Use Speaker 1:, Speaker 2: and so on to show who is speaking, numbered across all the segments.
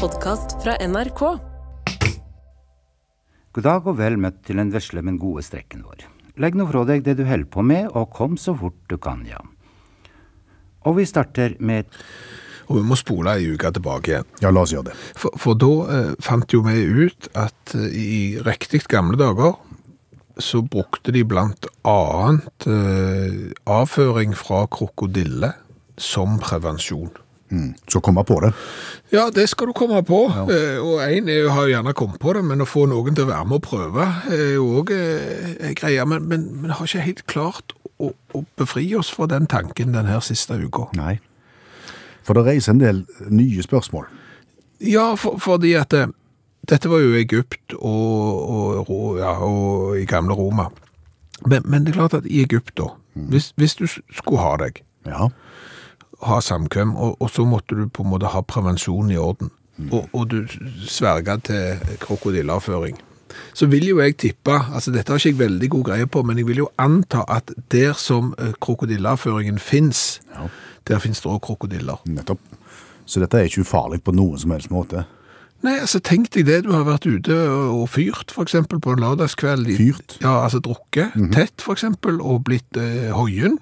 Speaker 1: podkast fra NRK.
Speaker 2: God dag og vel møtt til den vesle, men gode strekken vår. Legg nå fra deg det du holder på med, og kom så fort du kan, ja. Og vi starter med
Speaker 3: Og vi må spole ei uke tilbake igjen.
Speaker 4: Ja, la oss gjøre det.
Speaker 3: For, for da eh, fant jo vi ut at eh, i riktig gamle dager så brukte de blant annet eh, avføring fra krokodille som prevensjon.
Speaker 4: Mm. Så kom jeg på det.
Speaker 3: Ja, det skal du komme på. Eh, og en er jo, har jo gjerne kommet på det, men å få noen til å være med og prøve eh, er jo òg greia. Men, men, men har ikke helt klart å, å befri oss fra den tanken denne siste uka.
Speaker 4: Nei. For det reiser en del nye spørsmål.
Speaker 3: Ja, for, fordi at eh, dette var jo Egypt og, og, Ro- ja, og i gamle Roma. Men, men det er klart at i Egypt da, hvis, hvis du s- skulle ha deg,
Speaker 4: Ja.
Speaker 3: ha samkvem, og, og så måtte du på en måte ha prevensjon i orden, og, og du sverga til krokodilleavføring, så vil jo jeg tippe, altså dette har ikke jeg veldig god greie på, men jeg vil jo anta at der som eh, krokodilleavføringen finnes, der finnes det også krokodiller.
Speaker 4: Nettopp. Så dette er ikke ufarlig på noen som helst måte.
Speaker 3: Nei, altså tenk deg det, du har vært ute og fyrt for eksempel på en lørdagskveld. i-
Speaker 4: Fyrt? Mhm.
Speaker 3: Ja, altså drukket tett for eksempel, og blitt eh, høyen,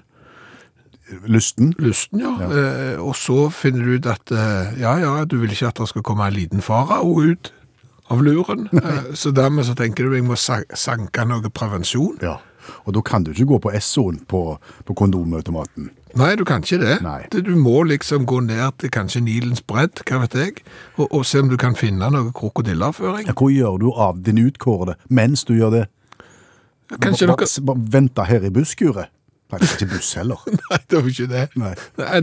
Speaker 4: Lysten?
Speaker 3: lysten ja, eh, og så finner du ut at eh, ja, ja, du vil ikke at det skal komme en liten farao ut av luren, eh, så dermed så tenker du jeg må sa- sanke noe prevensjon.
Speaker 4: Ja. Og da kan du ikke gå på SO-en på, på kondomautomaten.
Speaker 3: Nei, du kan ikke det.
Speaker 4: Nei.
Speaker 3: Du- Du må liksom gå ned til kanskje Nilens bredd, hva vet jeg, og, og se om du kan finne noe krokodillerføring.
Speaker 4: Ja, hva gjør du av din utkårede mens du gjør det?
Speaker 3: Kanskje
Speaker 4: Bare-
Speaker 3: dere...
Speaker 4: bare Vente her i busskuret? Nei, det er ikke buss heller.
Speaker 3: Nei, det var ikke det.
Speaker 4: Nei.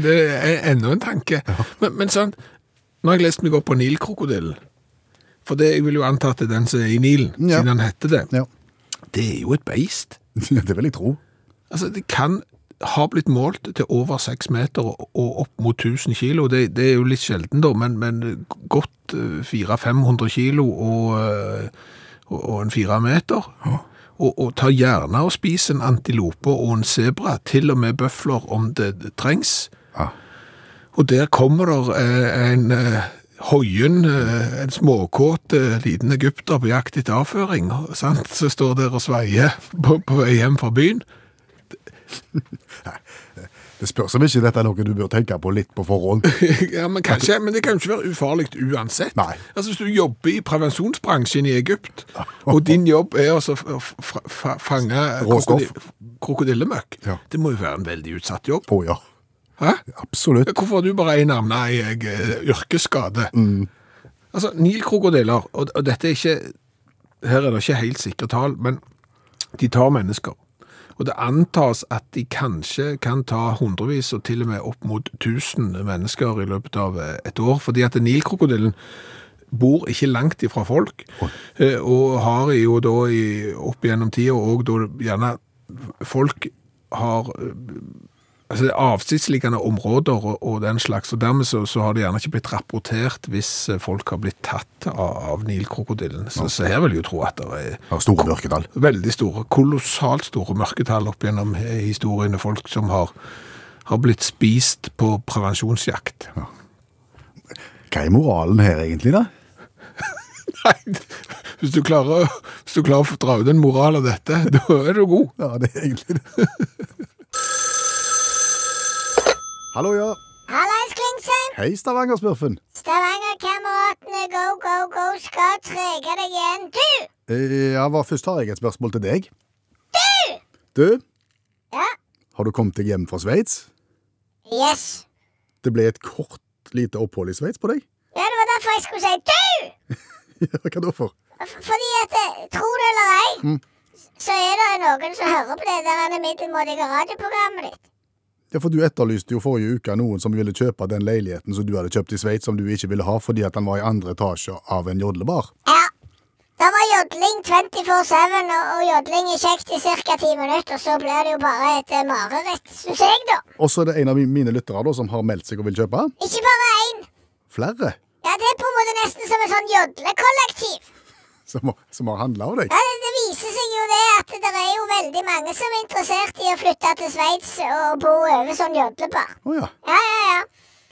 Speaker 3: det er enda en tanke. Men, men sånn, nå har jeg lest meg opp på Nilkrokodillen. For det, jeg vil jo anta at det er den som er i Nilen,
Speaker 4: Ja.
Speaker 3: siden han heter det.
Speaker 4: Ja.
Speaker 3: Det er jo et beist.
Speaker 4: Det vil jeg tro.
Speaker 3: Altså, det kan ha blitt målt til over 6 meter og- og opp mot 1000 kilo. Det, det er jo litt sjelden da, men, men godt eh, 400-500 kilo og, eh, og, og en 4 meter. Og, og ta gjerne og spise en antilope og en zebra, til og med bøfler om det trengs.
Speaker 4: Ja.
Speaker 3: Og der kommer der eh, en eh, høyen, eh, en småkåt eh, liten egypter på jakt etter avføring, sant? Så står der og sveier på, på vei hjem fra byen.
Speaker 4: Det spørs om ikke dette er noe du bør tenke på litt på forhånd.
Speaker 3: ja, men kanskje, men det kan jo ikke være ufarlig uansett.
Speaker 4: Nei.
Speaker 3: Altså, hvis du jobber i prevensjonsbransjen i Egypt, og din jobb er altså å f- f- f- fange
Speaker 4: Råstoff.
Speaker 3: krokodil- krokodillemøkk,
Speaker 4: Ja.
Speaker 3: det må jo være en veldig utsatt jobb.
Speaker 4: Å ja,
Speaker 3: Hæ?
Speaker 4: absolutt.
Speaker 3: Hvorfor har du bare en arm? Nei, jeg eh, yrkesskade. Altså, Nilkrokodiller, og, og dette er ikke Her er det ikke helt sikre tall, men de tar mennesker. Og det antas at de kanskje kan ta hundrevis og til og med opp mot 1000 mennesker i løpet av eh, et år, fordi at Nilkrokodillen bor ikke langt ifra folk, eh, og har jo da i, opp gjennom tida òg da gjerne folk har eh, Altså det er avsidsliggende områder og, og den slags, og dermed så, så har det gjerne ikke blitt rapportert hvis eh, folk har blitt tatt av, av nilkrokodillen. Så, så her vil jeg jo tro at det er
Speaker 4: Har store mørketall.
Speaker 3: veldig store, kolossalt store mørketall opp gjennom eh, historiene, folk som har, har blitt spist på prevensjonsjakt.
Speaker 4: Hva er moralen her egentlig, da?
Speaker 3: Nei, det- hvis du, klarer, å- hvis du klarer å dra ut en moral av dette, da er du god.
Speaker 4: Ja, det er egentlig det. Hallo, ja.
Speaker 5: Hallais, Klingsheim!
Speaker 4: Hei, Stavanger-smurfen.
Speaker 5: Stavanger-kameratene go, go, go skal trege deg igjen. Du!
Speaker 4: Eh, Ja, hva først har jeg et spørsmål til deg. Du! Du,
Speaker 5: Ja?
Speaker 4: har du kommet deg hjem fra Sveits?
Speaker 5: Yes.
Speaker 4: Det ble et kort, lite opphold i Sveits på deg.
Speaker 5: Ja, det var derfor jeg skulle si du!
Speaker 4: Ja, Hva da for?
Speaker 5: F- Fordi at, eh, tro det eller ei, så er det noen som hører på det der ene middelmådige radioprogrammet ditt.
Speaker 4: Ja, for du etterlyste jo forrige uke noen som ville kjøpe den leiligheten som du hadde kjøpt i Sveits, som du ikke ville ha fordi at den var i andre etasje av en jodlebar.
Speaker 5: Ja. Det var jodling 24-7, og, og jodling er kjekt i ca. ti minutter, så blir det jo bare et eh, mareritt, syns jeg, da.
Speaker 4: Og så er det en av mi- mine lyttere da, som har meldt seg og vil kjøpe.
Speaker 5: Ikke bare én.
Speaker 4: Flere
Speaker 5: Ja, det er på en måte nesten som et sånn jodlekollektiv.
Speaker 4: som, har- som har handla av deg.
Speaker 5: Ja, det, det viser seg jo det at det er jo veldig mange som er interessert i å flytte til Sveits og bo over som jodlebar.
Speaker 4: Å ja.
Speaker 5: Ja, ja, ja.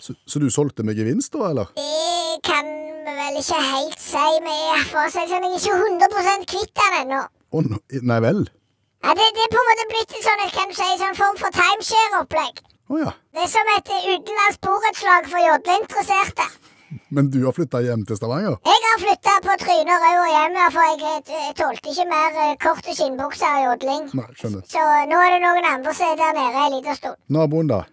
Speaker 4: Så, så du solgte med gevinst da, eller?
Speaker 5: Det kan vi vel ikke helt si. Vi er for å si det sånn, jeg er ikke 100 kvitt den ennå.
Speaker 4: Å, nå- nei vel?
Speaker 5: Ja, det, det er på en måte blitt et sånn, kan du si, sånn form for timeshare-opplegg.
Speaker 4: Å ja.
Speaker 5: Det er som et eh, utenlandsk borettslag for jodleinteresserte.
Speaker 4: Men du har flytta hjem til Stavanger?
Speaker 5: Jeg har flytta på trynet og røda hjem, ja, for jeg, eh, jeg tålte ikke mer eh, korte skinnbukser og jodling.
Speaker 4: Nei, skjønner.
Speaker 5: Så nå er det noen andre som er der nede en liten stund.
Speaker 4: Naboen, da?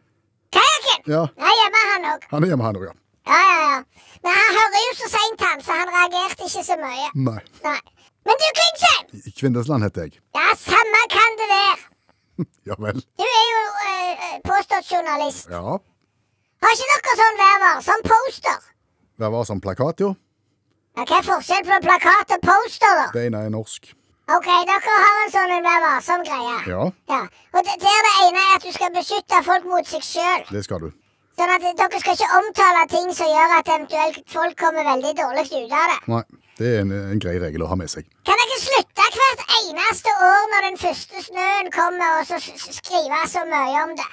Speaker 5: Kajakken!
Speaker 4: Ja,
Speaker 5: Nei, hjemme er han òg.
Speaker 4: han er hjemme, han òg, ja.
Speaker 5: Ja, ja, ja. Men han hører jo så seint, han, så han reagerte ikke så mye.
Speaker 4: Nei.
Speaker 5: Nei. Men du, Klingsheim!
Speaker 4: I Kvindesland heter jeg.
Speaker 5: Ja, samme kan det være.
Speaker 4: Ja vel.
Speaker 5: Du er jo eh, påstått journalist.
Speaker 4: Ja.
Speaker 5: Har ikke dere sånn Vær varsom-poster?
Speaker 4: Det var som plakat, jo.
Speaker 5: Ja, Hva er forskjellen på en plakat og poster, da?
Speaker 4: Det ene er norsk.
Speaker 5: Ok, dere har en sånn en Vær varsom-greie.
Speaker 4: Ja,
Speaker 5: Ja, og det, der det ene er at du skal beskytte folk mot seg sjøl.
Speaker 4: det skal du.
Speaker 5: Sånn at dere skal ikke omtale ting som gjør at eventuelt folk kommer veldig dårlig ut av det.
Speaker 4: Nei, det er en, en grei regel å ha med seg.
Speaker 5: Kan dere slutte hvert eneste år når den første snøen kommer, og så s- s- skrive så mye om det?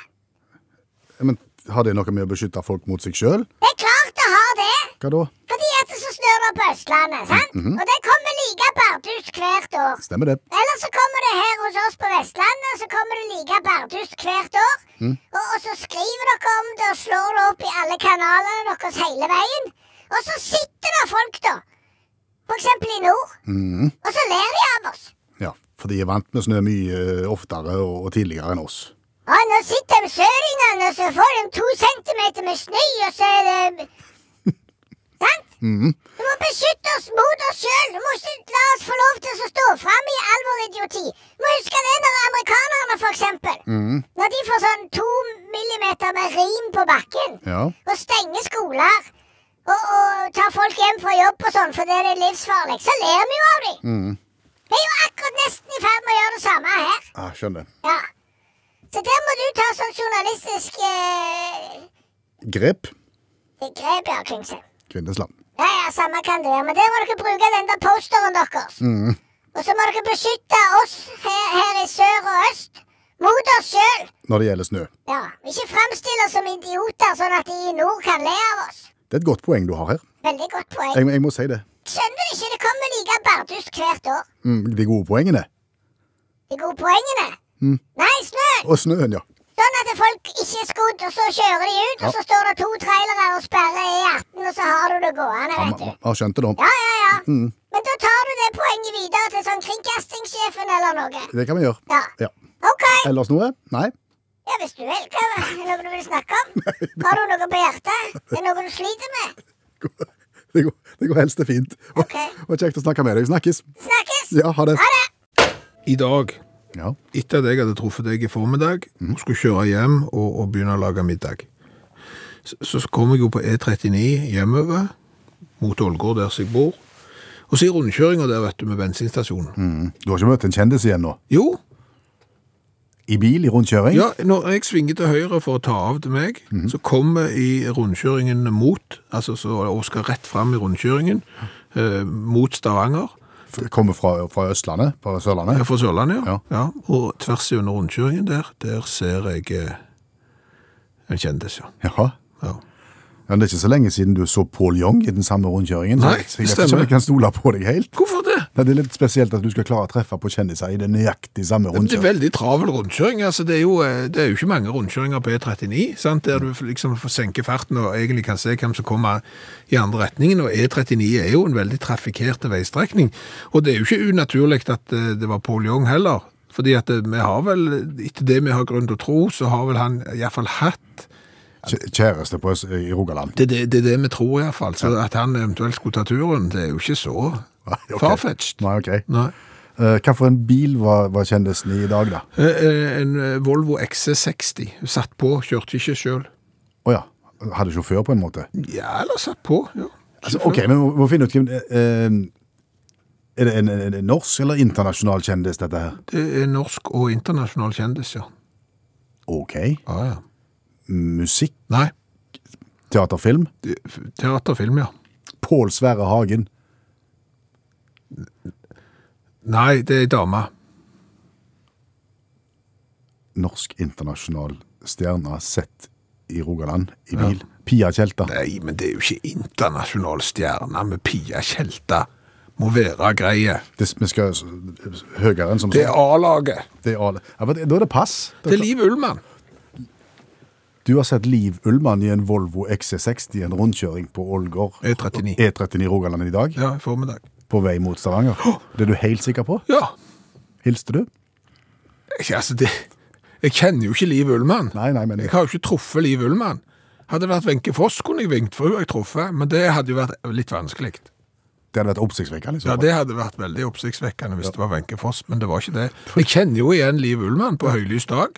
Speaker 4: Men har det noe med å beskytte folk mot seg sjøl?
Speaker 5: Det er klart det har det!
Speaker 4: Hva da?
Speaker 5: Fordi at det så snør det på Østlandet, sant? Og det kommer like bardust hvert år.
Speaker 4: Stemmer det.
Speaker 5: Eller så kommer det her hos oss på Vestlandet, og så kommer det like bardust hvert år. Og, og så skriver dere om det og slår det opp i alle kanalene deres hele veien. Og så sitter det folk, da. For eksempel i nord. Og så ler de av oss.
Speaker 4: Mm, Ja, for de er vant med snø mye eh, oftere og, og tidligere enn oss.
Speaker 5: Ja, nå sitter de søringene, og så får de to centimeter med snø, og så er det Sant? Du må beskytte oss mot oss sjøl. Du må ikke la oss få lov til å stå fram i all vår idioti. Du må huske det når amerikanerne, for eksempel. Når de får sånn to millimeter med rim på bakken,
Speaker 4: Ja.
Speaker 5: og stenger skoler, og, og tar folk hjem fra jobb og sånn fordi det er livsfarlig, så ler vi jo av dem. Vi er jo akkurat nesten i ferd med å gjøre det samme her.
Speaker 4: Ah, skjønner.
Speaker 5: Ja. Så der må du ta sånn journalistisk eh,
Speaker 4: Grep.
Speaker 5: grep, ja, Klingsheim.
Speaker 4: Kvinnesland.
Speaker 5: Ja, ja, samme kan det være. Men der må dere bruke den der posteren deres. Og så må dere beskytte oss her, her i sør og øst mot oss sjøl.
Speaker 4: Når det gjelder snø.
Speaker 5: Ja. Ikke framstille oss som idioter, sånn at de i nord kan le av oss.
Speaker 4: Det er et godt poeng du har her.
Speaker 5: Veldig godt poeng.
Speaker 4: Jeg, jeg må si det.
Speaker 5: Skjønner du ikke? Det kommer like bardust hvert år.
Speaker 4: Mm, de gode poengene.
Speaker 5: De gode poengene. Nei, snø!
Speaker 4: Og snøen, ja.
Speaker 5: Sånn at folk ikke er skodd, og så kjører de ut,
Speaker 4: Ja.
Speaker 5: og så står det to trailere og sperrer E18, og så har du det gående,
Speaker 4: Han
Speaker 5: vet du.
Speaker 4: har skjønt det nå.
Speaker 5: Ja, ja, ja.
Speaker 4: Mm.
Speaker 5: Men da tar du det poenget videre til sånn kringkastingssjefen eller noe.
Speaker 4: Det kan vi gjøre.
Speaker 5: Ja.
Speaker 4: Ja.
Speaker 5: OK.
Speaker 4: Ellers noe? Nei.
Speaker 5: Ja, hvis du vil. Hva er det noe du vil snakke om? Har du noe på hjertet? Er det noe du sliter med?
Speaker 4: Det går, det går helst det fint. Og,
Speaker 5: Ok.
Speaker 4: og kjekt å snakke med deg. Snakkes.
Speaker 5: Snakkes!
Speaker 4: Ja, ha det.
Speaker 5: Ha det!
Speaker 3: I dag,
Speaker 4: Ja.
Speaker 3: etter at jeg hadde truffet deg i formiddag, og skulle kjøre hjem og, og begynne å lage middag, så, så kom jeg jo på E39 hjemover, mot Ålgård, der som jeg bor. Og så i rundkjøringa der, vet du, med bensinstasjonen.
Speaker 4: Du har ikke møtt en kjendis igjen nå?
Speaker 3: Jo,
Speaker 4: I bil, i rundkjøring?
Speaker 3: ja, når jeg svinger til høyre for å ta av til meg, så kommer jeg i rundkjøringen mot, altså så, og skal rett fram i rundkjøringen, eh, mot Stavanger,
Speaker 4: F- Kommer fra, fra Østlandet? Fra
Speaker 3: Jeg er
Speaker 4: Sørlandet?
Speaker 3: fra Sørlandet, ja.
Speaker 4: Ja.
Speaker 3: ja. Og tvers gjennom rundkjøringen der, der ser jeg eh, en kjendis, ja.
Speaker 4: Jaha.
Speaker 3: ja.
Speaker 4: Ja, det er ikke så lenge siden du så Pål Jong i den samme rundkjøringen. så
Speaker 3: Nei,
Speaker 4: jeg-
Speaker 3: det
Speaker 4: jeg vet ikke om
Speaker 3: stemmer.
Speaker 4: jeg kan stole på deg helt.
Speaker 3: Hvorfor det?
Speaker 4: Nei, Det er litt spesielt at du skal klare å treffe på kjendiser i den nøyaktig samme
Speaker 3: Det er
Speaker 4: rundkjøringen.
Speaker 3: veldig travel rundkjøring. altså Det er jo, eh, det er jo ikke mange rundkjøringer på E39, sant? der du liksom får senke farten og egentlig kan se hvem som kommer i andre retningen. Og E39 er jo en veldig trafikkerte veistrekning. Og det er jo ikke unaturlig at eh, det var Pål Jong heller. Fordi at eh, vi har vel, etter det vi har grunn til å tro, så har vel han iallfall hatt
Speaker 4: Kj- Kjæreste på, Øst- i Rogaland.
Speaker 3: Det er det, det, er det vi tror iallfall. Så at han eventuelt skulle ta turen, det er jo ikke så
Speaker 4: ok.
Speaker 3: farfetched.
Speaker 4: Nei, ok.
Speaker 3: Nei.
Speaker 4: Eh, Hva for en bil var, var kjendisen i i dag, da?
Speaker 3: Eh, eh, En eh, Volvo XC60 satt på, kjørte ikke sjøl.
Speaker 4: Å ja. Hadde sjåfør, på en måte?
Speaker 3: Ja, eller satt på. ja.
Speaker 4: Altså, ok, men vi må finne ut hvem eh, Er det en, en, en norsk eller internasjonal kjendis, dette her?
Speaker 3: Det er norsk og internasjonal kjendis, ja.
Speaker 4: Ok.
Speaker 3: ja, Ah, ja.
Speaker 4: Musikk,
Speaker 3: Nei,
Speaker 4: teaterfilm.
Speaker 3: det- teaterfilm, ja.
Speaker 4: Pål Sverre Hagen.
Speaker 3: Nei, det er ei dame.
Speaker 4: Norsk internasjonal stjerne sett i Rogaland i bil. Pia Tjelta.
Speaker 3: Nei, men det er jo ikke internasjonal stjerne med Pia Tjelta. Må være greie.
Speaker 4: Det, vi skal s- s- høyere enn som
Speaker 3: Det er A-laget.
Speaker 4: Det er alle. Ja, men da er det pass.
Speaker 3: Det er Liv Ullmann.
Speaker 4: Du har sett Liv Ullmann i en Volvo XC60, en rundkjøring på Ålgård.
Speaker 3: E39.
Speaker 4: E39 i Rogaland i dag,
Speaker 3: Ja, i formiddag.
Speaker 4: på vei mot Stavanger. Det er du helt sikker på?
Speaker 3: Ja.
Speaker 4: Hilste du?
Speaker 3: Ikke, altså, det, jeg kjenner jo ikke Liv Ullmann.
Speaker 4: Nei, nei, men
Speaker 3: Jeg har jo ikke truffet Liv Ullmann. Hadde det vært Wenche Foss, kunne jeg vinkt, for hun har jeg truffet. Men det hadde jo vært litt vanskelig.
Speaker 4: det hadde vært oppsiktsvekkende. i så
Speaker 3: Ja,
Speaker 4: fall.
Speaker 3: Det hadde vært veldig oppsiktsvekkende hvis det var Wenche Foss, men det var ikke det. Jeg kjenner jo igjen Liv Ullmann på høylys dag.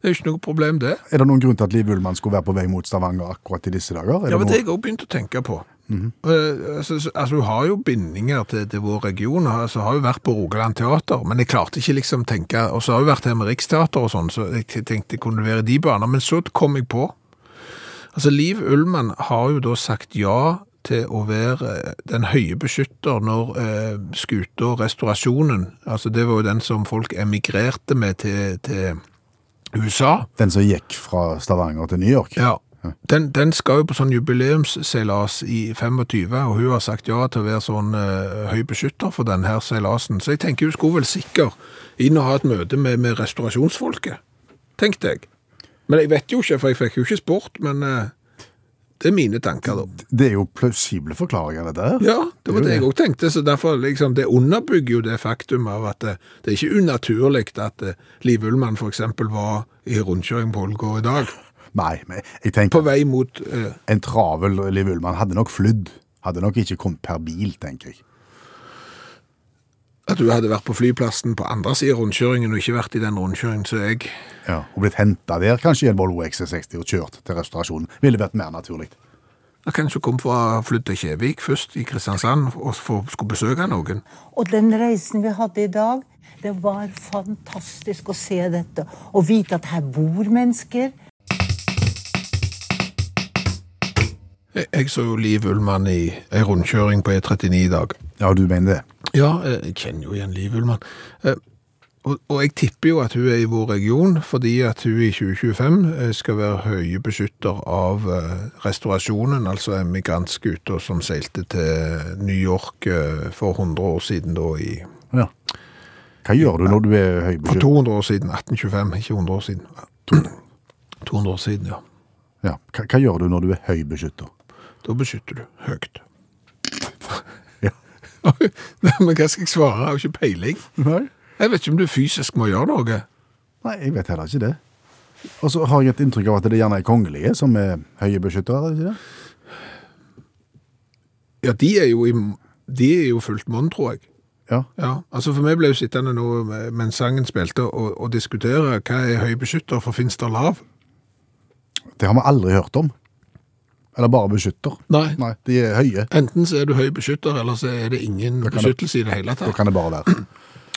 Speaker 3: Det er jo ikke noe problem, det.
Speaker 4: Er det noen grunn til at Liv Ullmann skulle være på vei mot Stavanger akkurat i disse dager? Er
Speaker 3: Ja, men
Speaker 4: noe-
Speaker 3: det har jeg òg begynt å tenke på. Eh, altså, så- altså, Hun har jo bindinger til, til vår region. Altså, hun har jo vært på Rogaland Teater, men jeg klarte ikke liksom tenke Og så har hun vært her med Riksteater og sånn, så jeg t- tenkte kunne det være i de baner. Men så kom jeg på Altså, Liv Ullmann har jo da sagt ja til å være eh, den høye beskytter når eh, skuta Restaurasjonen Altså, det var jo den som folk emigrerte med til, til USA.
Speaker 4: Den som gikk fra Stavanger til New York?
Speaker 3: Ja. Den, den skal jo på sånn jubileumsseilas i 25, og hun har sagt ja til å være sånn eh, høy beskytter for denne her seilasen. Så jeg tenker hun skulle vel sikker inn og ha et møte med, med restaurasjonsfolket, tenkte jeg. Men jeg vet jo ikke, for jeg fikk jo ikke sport, men eh, det er mine tanker da.
Speaker 4: Det er jo plausible forklaringer, dette her.
Speaker 3: Ja, det var
Speaker 4: Det er jo
Speaker 3: det jeg også tenkte, så derfor liksom, det underbygger jo det faktum av at det, det er ikke unaturlig at eh, Liv Ullmann for eksempel var i rundkjøring på Ålgård i dag,
Speaker 4: Nei, men jeg tenker
Speaker 3: på vei mot... eh,
Speaker 4: en travel Liv Ullmann hadde nok flydd. Hadde nok ikke kommet per bil, tenker jeg.
Speaker 3: At du hadde vært på flyplassen på andre siden av rundkjøringen og ikke vært i den rundkjøringen, så jeg
Speaker 4: Ja. Og blitt henta der, kanskje i en Volvo E XC60 og kjørt til restaurasjonen. Ville vært mer naturlig.
Speaker 3: jeg kanskje kom fra flytt til Kjevik først, i Kristiansand, og for, skulle besøke noen.
Speaker 1: Og den reisen vi hadde i dag, det var fantastisk å se dette. Og vite at her bor mennesker.
Speaker 3: Jeg, jeg så jo Liv Ullmann i ei rundkjøring på E39 i dag.
Speaker 4: Ja, du mener det?
Speaker 3: Ja, eh, jeg kjenner jo igjen Liv Ullmann. Eh, Og, og jeg tipper jo at hun er i vår region, fordi at hun i 2025 skal være høye beskytter av eh, restaurasjonen, altså emigrantskuta som seilte til New York eh, for 100 år siden da i
Speaker 4: Ja. Hva gjør du når du er høy
Speaker 3: For
Speaker 4: beskyttet?
Speaker 3: 200 år siden. 1825, ikke 100 år siden. 200 år siden, ja.
Speaker 4: Ja. Hva, hva gjør du når du er høy beskytter?
Speaker 3: Da beskytter du høyt.
Speaker 4: Ja.
Speaker 3: Nei, men hva skal jeg svare? Jeg har jo ikke peiling.
Speaker 4: Nei.
Speaker 3: Jeg vet ikke om du fysisk må gjøre noe.
Speaker 4: Nei, jeg vet heller ikke det. Og så har jeg et inntrykk av at det gjerne er kongelige som er høye beskyttere, er det ikke det?
Speaker 3: Ja, de er jo, i, de er jo fullt monn, tror jeg.
Speaker 4: Ja.
Speaker 3: Ja, altså For meg ble jo sittende nå mens sangen spilte, og, og diskutere hva er høy beskytter, for fins det lav?
Speaker 4: Det har vi aldri hørt om. Eller bare beskytter.
Speaker 3: Nei.
Speaker 4: Nei, de er høye.
Speaker 3: Enten så er du høy beskytter, eller så er det ingen
Speaker 4: kan det-
Speaker 3: beskyttelse i det hele tatt.
Speaker 4: Da kan det bare være.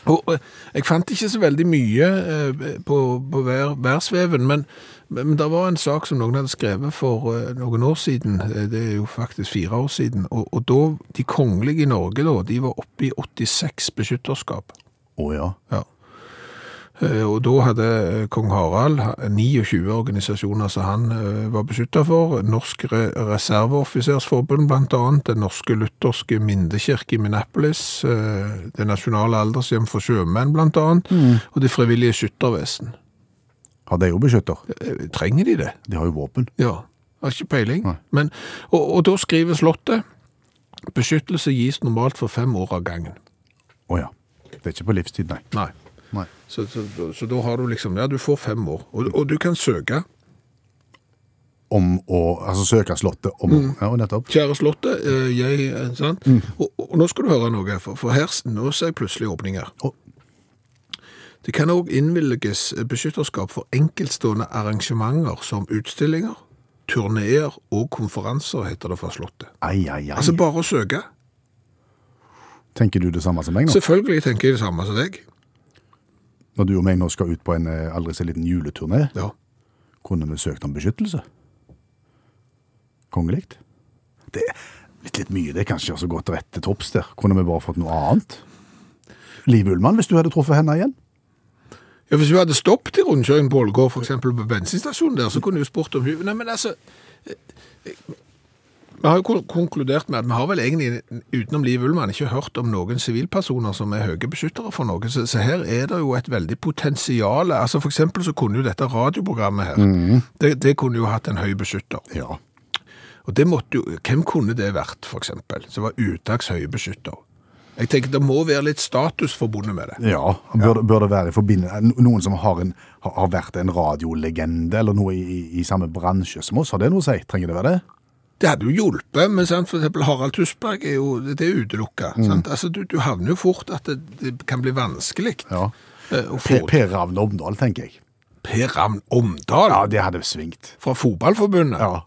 Speaker 3: Og, og jeg fant ikke så veldig mye eh, på, på vær, værsveven, men, men det var en sak som noen hadde skrevet for eh, noen år siden, eh, det er jo faktisk fire år siden, og, og da, de kongelige i Norge da, de var oppe i 86 beskytterskap.
Speaker 4: Å ja.
Speaker 3: Ja. Eh, Og da hadde eh, kong Harald ha- 29 organisasjoner som han eh, var beskytta for. Norsk Re- Reserveoffisersforbund bl.a., Den norske lutherske mindekirke i Minneapolis, eh, Det nasjonale aldershjem for sjømenn bl.a., og Det frivillige skyttervesen.
Speaker 4: Har de jo beskytter?
Speaker 3: Eh, Trenger de det?
Speaker 4: De har jo våpen.
Speaker 3: Ja, har ikke peiling.
Speaker 4: Nei.
Speaker 3: Men, og, og da skriver Slottet beskyttelse gis normalt for fem år av gangen.
Speaker 4: Å ja. Det er ikke på livstid, nei.
Speaker 3: Nei.
Speaker 4: Nei.
Speaker 3: Så, så, så da har du liksom Ja, du får fem år, og, og du kan søke.
Speaker 4: Om å Altså søke Slottet om
Speaker 3: Mm.
Speaker 4: å Ja, nettopp.
Speaker 3: Kjære Slottet, eh, jeg eh, sant?
Speaker 4: Mm.
Speaker 3: Og, og nå skal du høre noe, for, for her nå ser jeg plutselig åpninger.
Speaker 4: Å.
Speaker 3: Det kan òg innvilges eh, beskytterskap for enkeltstående arrangementer som utstillinger, turneer og konferanser, heter det fra Slottet.
Speaker 4: Ai, ai, ai.
Speaker 3: Altså bare å søke.
Speaker 4: Tenker du det samme som meg nå?
Speaker 3: Selvfølgelig tenker jeg det samme som deg.
Speaker 4: Når du og meg nå skal ut på en eh, aldri så liten juleturné,
Speaker 3: Ja.
Speaker 4: kunne vi søkt om beskyttelse? Kongelig? Det er litt, litt mye, det er kanskje så godt rett til topps der. Kunne vi bare fått noe annet? Liv Ullmann, hvis du hadde truffet henne igjen?
Speaker 3: Ja, Hvis hun hadde stoppet i rundkjøringen på Ålgård, f.eks. på bensinstasjonen der, så kunne hun spurt om hun Nei, men altså eh, eh, Vi har jo kon- konkludert med at vi har vel egentlig, utenom Liv Ullmann, ikke hørt om noen sivilpersoner som er høye beskyttere for noe, så, så her er det jo et veldig potensial. Altså, for eksempel så kunne jo dette radioprogrammet her, det, det kunne jo hatt en høy beskytter.
Speaker 4: Ja.
Speaker 3: Og det måtte jo, hvem kunne det vært, for eksempel, som var utdags høybeskytter? Jeg tenker det må være litt status forbundet med det.
Speaker 4: Ja, bør, bør det være i forbindelse eh, Noen som har, en, har- har vært en radiolegende eller noe i, i, i samme bransje som oss, har det noe å si? Trenger det være det?
Speaker 3: Det hadde jo hjulpet, men sant, for eksempel Harald Tusberg er jo, det er
Speaker 4: Mm.
Speaker 3: utelukket. Sant? Altså, du, du havner jo fort at det, det kan bli vanskelig
Speaker 4: Ja.
Speaker 3: eh, å få
Speaker 4: Per, per Ravn Omdal, tenker jeg.
Speaker 3: Per Ravn Omdal
Speaker 4: Ja, det hadde svingt.
Speaker 3: fra fotballforbundet.
Speaker 4: Ja.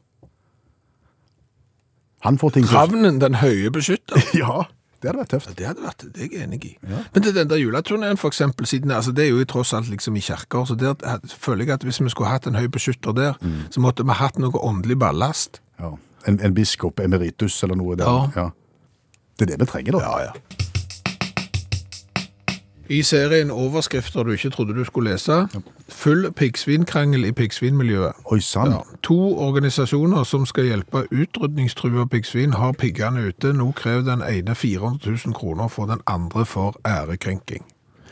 Speaker 4: Han får ting til
Speaker 3: Ravnen, den høye beskytter.
Speaker 4: Ja, det hadde vært tøft.
Speaker 3: Ja, Det hadde vært, det er jeg enig i. Men til den der juleturnéen, for eksempel, siden, altså, det er jo i tross alt liksom i kjerker, så der eh, føler jeg at hvis vi skulle hatt en høy beskytter der,
Speaker 4: Mm.
Speaker 3: så måtte vi hatt noe åndelig ballast.
Speaker 4: Ja. En, en biskop emeritus eller noe der.
Speaker 3: Ja.
Speaker 4: Det er det vi trenger, da.
Speaker 3: I serien overskrifter du ikke trodde du skulle lese, full piggsvinkrangel i piggsvinmiljøet.
Speaker 4: Oi sann.
Speaker 3: Ja. To organisasjoner som skal hjelpe utrydningstrua piggsvin, har piggene ute. Nå krever den ene 400 000 kroner for den andre for ærekrenking.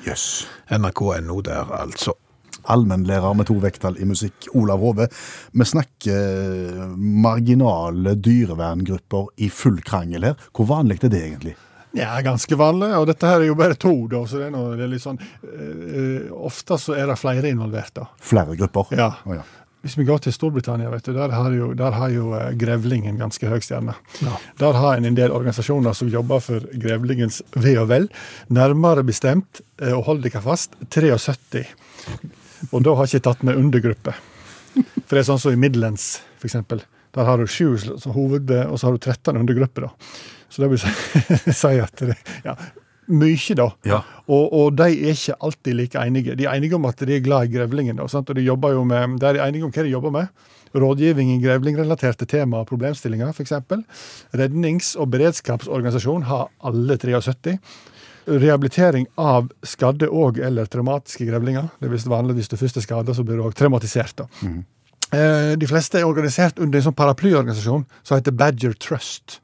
Speaker 4: Jøss.
Speaker 3: NRK.no der, altså.
Speaker 4: Allmennlærer med to vekttall i musikk, Olav Hove. Vi snakker eh, marginale dyreverngrupper i full krangel her. Hvor vanlig er det egentlig?
Speaker 6: Ja, ganske vanlig. Og dette her er jo bare to, da, så det er, noe, det er litt sånn eh, eh, Ofte så er det flere involvert, da.
Speaker 4: Flere grupper?
Speaker 6: Ja.
Speaker 4: Å, ja.
Speaker 6: Hvis vi går til Storbritannia, vet du, der har jo, der har jo eh, grevling en ganske høy stjerne. Der har en en del organisasjoner som jobber for grevlingens ve og vel. Nærmere bestemt, eh, og hold dere fast, 73. Og da har jeg ikke tatt med undergrupper. For det er sånn som i Midlands, for eksempel. Der har du sju som hoved, og så har du 13 undergrupper, da. Så det vil si, si at det, ja, mye, da.
Speaker 4: Ja.
Speaker 6: Og, og de er ikke alltid like enige. De er enige om at de er glad i grevlingen. Da, sant? Og de jobber jo med, de er enige om hva de jobber med. Rådgivning i grevlingrelaterte tema og problemstillinger, f.eks. Rednings- og beredskapsorganisasjon har alle 73. Rehabilitering av skadde og- eller traumatiske grevlinger. Det er visst vanlig hvis du først er skada, så blir du òg traumatisert. da. Eh, De fleste er organisert under en sånn paraplyorganisasjon som heter Badger Trust.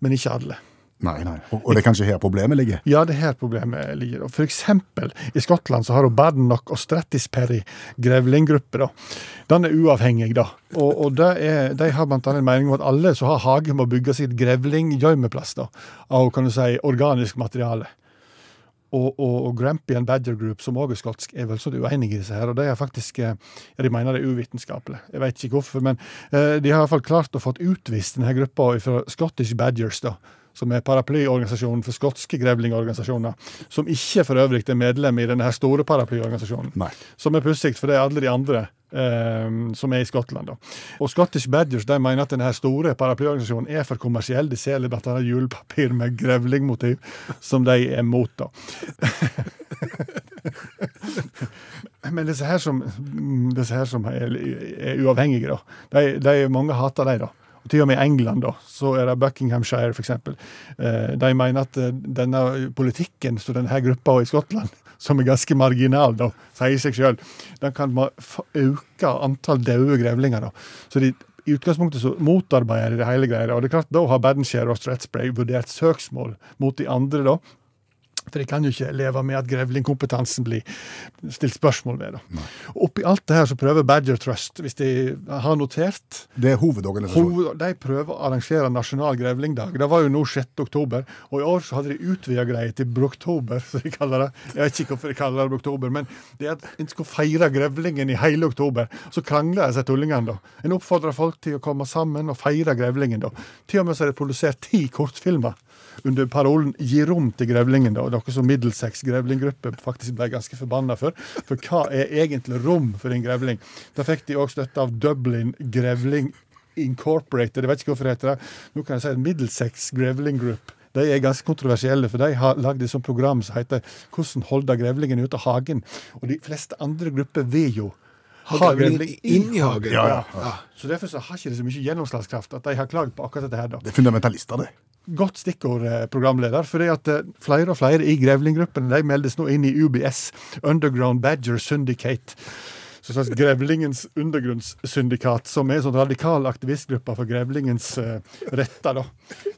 Speaker 6: Men ikke alle.
Speaker 4: Nei, nei. Og, og det er kanskje her problemet ligger?
Speaker 6: Ja, det er her problemet ligger. da. For eksempel i Skottland så har hun Badenoch og Stratisperry grevlinggruppe. da. Den er uavhengig, da. Og, og det er, de har blant annet en mening om at alle som har hage, må bygge sitt grevlinggjørmeplass da, av kan du si, organisk materiale. Og, og, og Grampian Badger Group, som også er skotsk, er vel så uenig i disse her. Og de er faktisk eh, ja, De mener det er uvitenskapelig. Jeg vet ikke hvorfor, men eh, de har i hvert fall klart å få utvist denne gruppa fra Scottish Badgers, da. Som er paraplyorganisasjonen for skotske grevlingorganisasjoner. Som ikke for øvrig er medlem i denne her store paraplyorganisasjonen.
Speaker 4: Nei.
Speaker 6: Som er pussig, for det er alle de andre eh, som er i Skottland. da. Og Scottish Badgers de mener at denne her store paraplyorganisasjonen er for kommersiell. De selger bl.a. julepapir med grevlingmotiv, som de er mot. da. Men disse her som, mm, disse her som er, er uavhengige, da. De, de, mange hater de, da. Og til og med i England da, så er det Buckinghamshire, f.eks. De mener at eh, denne politikken som denne her gruppa i Skottland, som er ganske marginal, da, sier seg sjøl, den kan ma- fa- øke antall døde grevlinger. da. Så de i utgangspunktet så motarbeider de det hele greia. Og det er klart, da har Badenshire og Stratspray vurdert søksmål mot de andre, da. For jeg kan jo ikke leve med at grevlingkompetansen blir stilt spørsmål ved. da. Og Oppi alt det her så prøver Badger Trust, hvis de har notert
Speaker 4: Det er hovedorganisasjonen.
Speaker 6: hoved, De prøver å arrangere nasjonal grevlingdag. Det var jo nå 6. oktober. Og i år så hadde de utvida greia til broktober, som de kaller det. Jeg vet ikke hvorfor de kaller det broktober, men det er at en skal feire grevlingen i hele oktober. Så krangler disse tullingene, da. En oppfordrer folk til å komme sammen og feire grevlingen, da. Til og med så er det produsert ti kortfilmer under parolen 'Gi rom til grevlingen', da. Og noe som Middlesex grevlinggruppe faktisk ble ganske forbanna for. For hva er egentlig rom for en grevling? Da fikk de òg støtte av Dublin grevling Incorporated. Jeg vet ikke hvorfor det heter det. Nå kan jeg si at Middlesex Grevling Group de er ganske kontroversielle, for de har lagd et sånt program som heter 'Hvordan holde grevlingen ute av hagen'. Og de fleste andre grupper vil jo ha
Speaker 3: grevling
Speaker 6: grevling
Speaker 3: inn i hagen.
Speaker 6: Ja,
Speaker 3: Ja.
Speaker 6: ja. Så derfor så har ikke det så mye gjennomslagskraft at de har klagd på akkurat dette her. da.
Speaker 4: Det er fundamentalister, det.
Speaker 6: Godt stikkord, eh, programleder. For det at eh, flere og flere i grevlinggruppen de meldes nå inn i UBS, Underground Badger Syndicate. Så et slags Grevlingens undergrunnssyndikat, som er en sånn radikal aktivistgruppe for grevlingens eh, retter. da.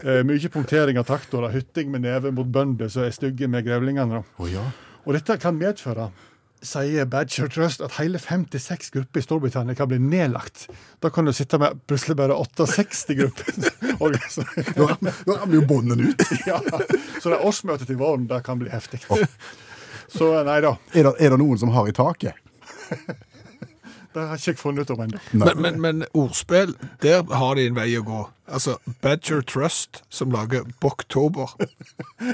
Speaker 6: Eh, mye punktering av traktorer, hytting med neve mot bønder som er stygge med grevlingene. da. Og dette kan medføre, sier Badger Trust, at hele 56 grupper i Storbritannia kan bli nedlagt. Da kan du sitte med plutselig bare 68 grupper. Og så-
Speaker 4: Nå ram- nå ramler jo bånden ut.
Speaker 6: ja. Så det årsmøtet til våren det kan bli heftig. Så nei da,
Speaker 4: Er det, er det noen som har i taket?
Speaker 6: det har ikke jeg funnet ut om ennå.
Speaker 3: Men, men, men ordspill, der har de en vei å gå. Altså Badger Trust, som lager Boktober.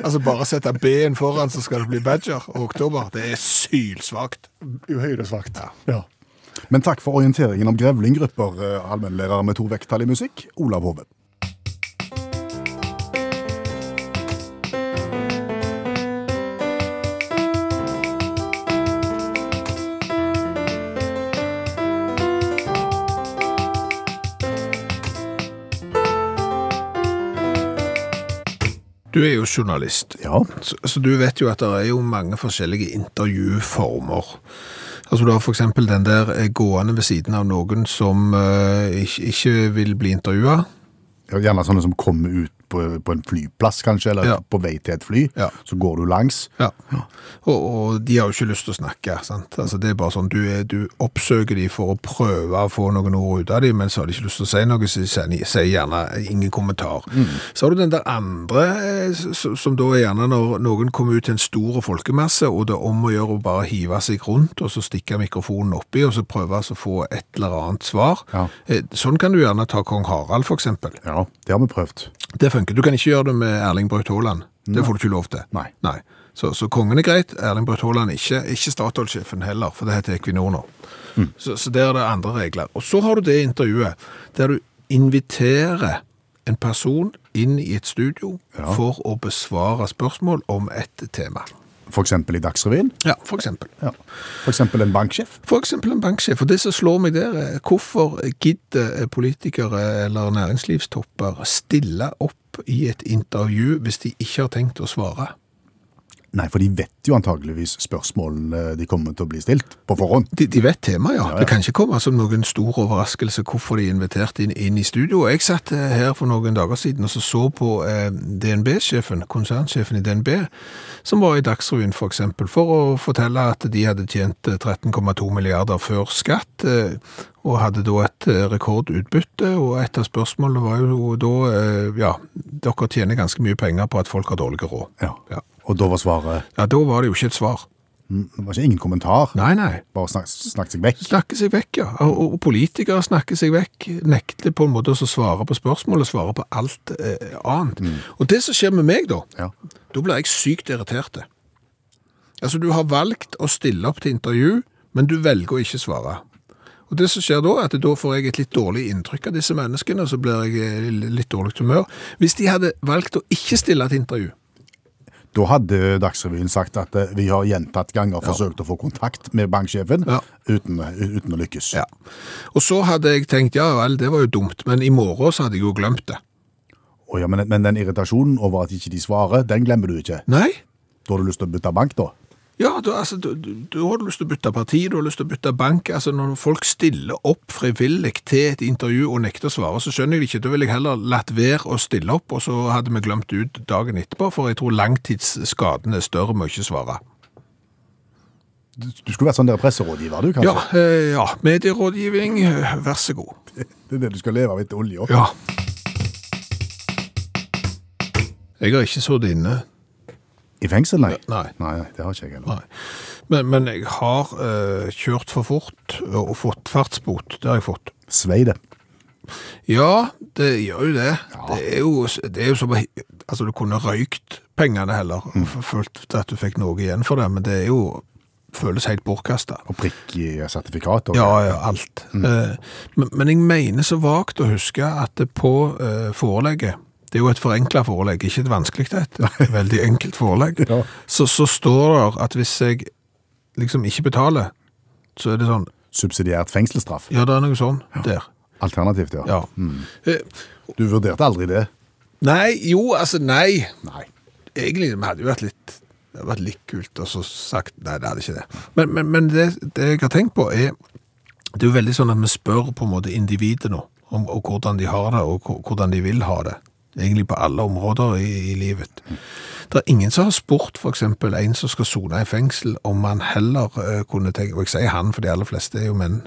Speaker 3: Altså bare sette B-en foran, så skal det bli Badger og Oktober. Det er sylsvakt.
Speaker 6: Uhyre svakt. Ja.
Speaker 4: Men takk for orienteringen om grevlinggrupper, eh, allmennlærer med to vekttall i musikk, Olav Hove.
Speaker 3: Du er jo journalist,
Speaker 4: Ja.
Speaker 3: så, så du vet jo at det er jo mange forskjellige intervjuformer. Altså Du har f.eks. den der eh, gående ved siden av noen som eh, ikke, ikke vil bli intervjua.
Speaker 4: Gjerne sånne som kommer ut på, på en flyplass, kanskje, eller
Speaker 3: Ja.
Speaker 4: på vei til et fly.
Speaker 3: Ja.
Speaker 4: Så går du langs.
Speaker 3: Ja. Og, og de har jo ikke lyst til å snakke. sant? Altså Det er bare sånn, Du, er, du oppsøker de for å prøve å få noen ord ut av dem, men så har de ikke lyst til å si noe, så de sier sier gjerne ingen kommentar. Så har du den der andre, eh, s- s- som da er gjerne når noen kommer ut til en stor folkemasse, og det er om å gjøre å bare hive seg rundt, og så stikke mikrofonen oppi, og så prøve altså å få et eller annet svar.
Speaker 4: Ja.
Speaker 3: Eh, Sånn kan du gjerne ta kong Harald, for eksempel.
Speaker 4: Ja, det har vi prøvd.
Speaker 3: Det funker. Du kan ikke gjøre det med Erling Braut Haaland. Det får du ikke lov til.
Speaker 4: Nei.
Speaker 3: Så, så kongen er greit, Erling Braut Haaland ikke. Ikke Statoil-sjefen heller, for det heter Equinor nå.
Speaker 4: Mm.
Speaker 3: Så, så der er det andre regler. Og så har du det intervjuet der du inviterer en person inn i et studio for å besvare spørsmål om et tema.
Speaker 4: For eksempel i Dagsrevyen.
Speaker 3: Ja, for eksempel.
Speaker 4: Ja. For eksempel en banksjef.
Speaker 3: For eksempel en banksjef. Og det som slår meg der, er hvorfor gidder politikere eller næringslivstopper stille opp i et intervju hvis de ikke har tenkt å svare?
Speaker 4: Nei, for de vet jo antageligvis spørsmålene de kommer til å bli stilt på forhånd.
Speaker 3: De, de vet temaet, ja. Det kan ikke komme som noen stor overraskelse hvorfor de er invitert inn, inn i studio. Jeg satt eh, her for noen dager siden og så, så på eh, DNB-sjefen, konsernsjefen i DNB, som var i Dagsrevyen for eksempel, for å fortelle at de hadde tjent eh, 13,2 milliarder før skatt, eh, og hadde da et eh, rekordutbytte, og et av spørsmålene var jo da, eh, ja, dere tjener ganske mye penger på at folk har dårlige råd.
Speaker 4: Ja.
Speaker 3: Ja,
Speaker 4: Og da var svaret
Speaker 3: ja da var det jo ikke et svar.
Speaker 4: Det var ikke ingen kommentar,
Speaker 3: Nei, nei.
Speaker 4: bare snak, snakket seg vekk.
Speaker 3: Snakke seg vekk, ja. Og, og politikere snakker seg vekk. Nekter på en måte å svare på spørsmål og svare på alt eh, annet. Og det som skjer med meg da,
Speaker 4: Ja.
Speaker 3: da blir jeg sykt irritert. Altså, du har valgt å stille opp til intervju, men du velger å ikke svare. Og det som skjer da, er at da får jeg et litt dårlig inntrykk av disse menneskene, og så blir jeg eh, litt dårlig til humør. Hvis de hadde valgt å ikke stille til intervju,
Speaker 4: Da hadde Dagsrevyen sagt at eh, vi har gjentatt ganger forsøkt å få kontakt med banksjefen
Speaker 3: Ja.
Speaker 4: uten, eh, uten å lykkes.
Speaker 3: ja. og så hadde jeg tenkt, ja vel, det var jo dumt, men i morgen så hadde jeg jo glemt det.
Speaker 4: Å ja, men, men den irritasjonen over at ikke de svarer, den glemmer du ikke.
Speaker 3: Nei,
Speaker 4: Da har du lyst til å bytte bank, da?
Speaker 3: Ja, du, altså, du, du, du har lyst til å bytte parti, du har lyst til å bytte bank. Altså, når folk stiller opp frivillig til et intervju og nekter å svare, så skjønner jeg det ikke. Da ville jeg heller latt være å stille opp, og så hadde vi glemt det ut dagen etterpå, for jeg tror langtidsskaden er større med å ikke svare.
Speaker 4: Du, du skulle vært sånn der presserådgiver, du,
Speaker 3: Ja,
Speaker 4: kanskje?
Speaker 3: eh, ja, medierådgivning, eh, vær så god.
Speaker 4: Det er det du skal leve av etter olja.
Speaker 3: Ja. Jeg har ikke sittet inne.
Speaker 4: I fengsel, nei.
Speaker 3: Nei.
Speaker 4: Nei, nei, det har ikke jeg heller.
Speaker 3: Nei. Men, men jeg har eh, kjørt for fort og fått fartsbot. Det har jeg fått.
Speaker 4: Svei det.
Speaker 3: Ja, det gjør jo det. Det, er jo, det er jo som å hi- Altså, du kunne røykt pengene heller, og følt at du fikk noe igjen for det, men det er jo Føles helt bortkasta.
Speaker 4: Og prikk i sertifikatet.
Speaker 3: Ja, ja, alt. Eh, Men, men jeg mener så vagt å huske at det på eh, forelegget det er jo et forenkla forelegg, ikke et vanskelig et. et Veldig enkelt forelegg.
Speaker 4: Ja.
Speaker 3: Så, så står det at hvis jeg liksom ikke betaler, så er det sånn
Speaker 4: Subsidiert fengselsstraff.
Speaker 3: Ja, det er noe sånn der.
Speaker 4: Alternativt, ja.
Speaker 3: Ja. Eh,
Speaker 4: Du vurderte aldri det.
Speaker 3: Nei, jo, altså nei.
Speaker 4: Nei.
Speaker 3: Egentlig det hadde jo vært litt det hadde vært litt kult og så sagt Nei, det hadde ikke det. Men, men, men det, det jeg har tenkt på, er Det er jo veldig sånn at vi spør på en måte individet nå om og hvordan de har det, og hvor- hvordan de vil ha det. Egentlig på alle områder i, i livet. Det er ingen som har spurt f.eks. en som skal sone i fengsel, om han heller eh, kunne tenkt Og jeg sier han, for de aller fleste er jo menn.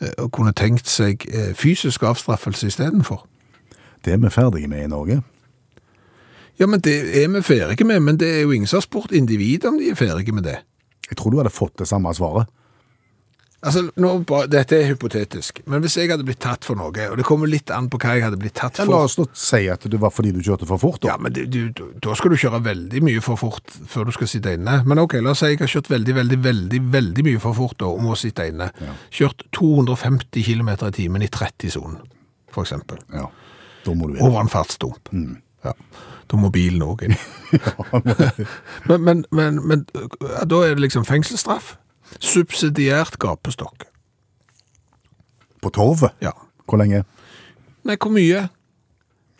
Speaker 3: eh, og kunne tenkt seg eh, fysisk avstraffelse istedenfor.
Speaker 4: Det er vi ferdige med i Norge.
Speaker 3: Ja, men det er vi ferdige med, men det er jo ingen som har spurt individet om de er ferdige med det.
Speaker 4: Jeg tror du hadde fått det samme svaret.
Speaker 3: Altså, nå, ba- Dette er hypotetisk, men hvis jeg hadde blitt tatt for noe, og det kommer litt an på hva jeg hadde blitt tatt
Speaker 4: Ja, la
Speaker 3: for
Speaker 4: oss nå si at det var fordi du kjørte for fort.
Speaker 3: ja,
Speaker 4: Da.
Speaker 3: men du, du, Da skal du kjøre veldig mye for fort før du skal sitte inne. Men ok, la oss si jeg har kjørt veldig, veldig, veldig veldig mye for fort da, og må sitte inne. Kjørt 250 km i timen i 30-sonen, f.eks.
Speaker 4: Ja. Da må du inn.
Speaker 3: Over en fartsdump.
Speaker 4: Mm.
Speaker 3: Ja. Da må bilen òg inn. Men, men, men, men ja, da er det liksom fengselsstraff. Subsidiært gapestokk.
Speaker 4: På torvet?
Speaker 3: Ja.
Speaker 4: Hvor lenge?
Speaker 3: Nei, hvor mye?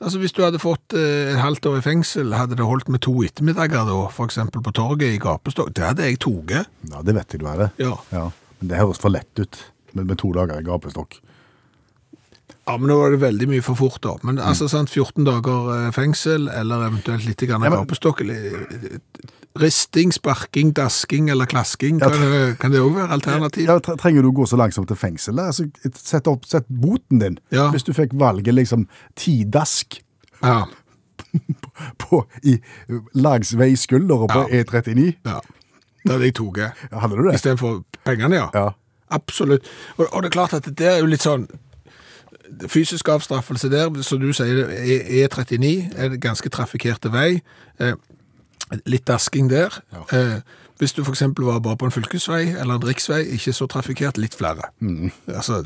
Speaker 3: Altså, Hvis du hadde fått eh, et halvt år i fengsel, hadde det holdt med to ettermiddager da, f.eks. på torget i gapestokk? Det hadde jeg tatt.
Speaker 4: Ja, Det vet jeg du hadde.
Speaker 3: Ja.
Speaker 4: Ja. Men det høres for lett ut med, med to dager i gapestokk.
Speaker 3: ja, men nå var det veldig mye for fort, da. Men
Speaker 4: Mm.
Speaker 3: altså, sant, 14 dager eh, fengsel, eller eventuelt litt grann
Speaker 4: Ja, men-
Speaker 3: gapestokk eller, eh, Risting, sparking, dasking eller klasking, kan, det- kan det òg være alternativ?
Speaker 4: Ja, tre- trenger du å gå så langsomt til fengsel? da? Altså, et- sett, opp, sett boten din.
Speaker 3: Ja.
Speaker 4: Hvis du fikk valget liksom ti dask
Speaker 3: Ja.
Speaker 4: på, i langs vei skulder og på E39,
Speaker 3: ja. Det hadde jeg tatt.
Speaker 4: Ja, hadde du det?
Speaker 3: Istedenfor pengene, ja.
Speaker 4: Ja.
Speaker 3: Absolutt. Og, og det er klart at det der er jo litt sånn Fysisk avstraffelse der, som du sier, E- E39 er en ganske trafikkerte vei. Eh, litt dasking der. Eh, hvis du f.eks. var bare på en fylkesvei eller en riksvei, ikke så trafikkert, litt flere.
Speaker 4: Mm.
Speaker 3: Altså,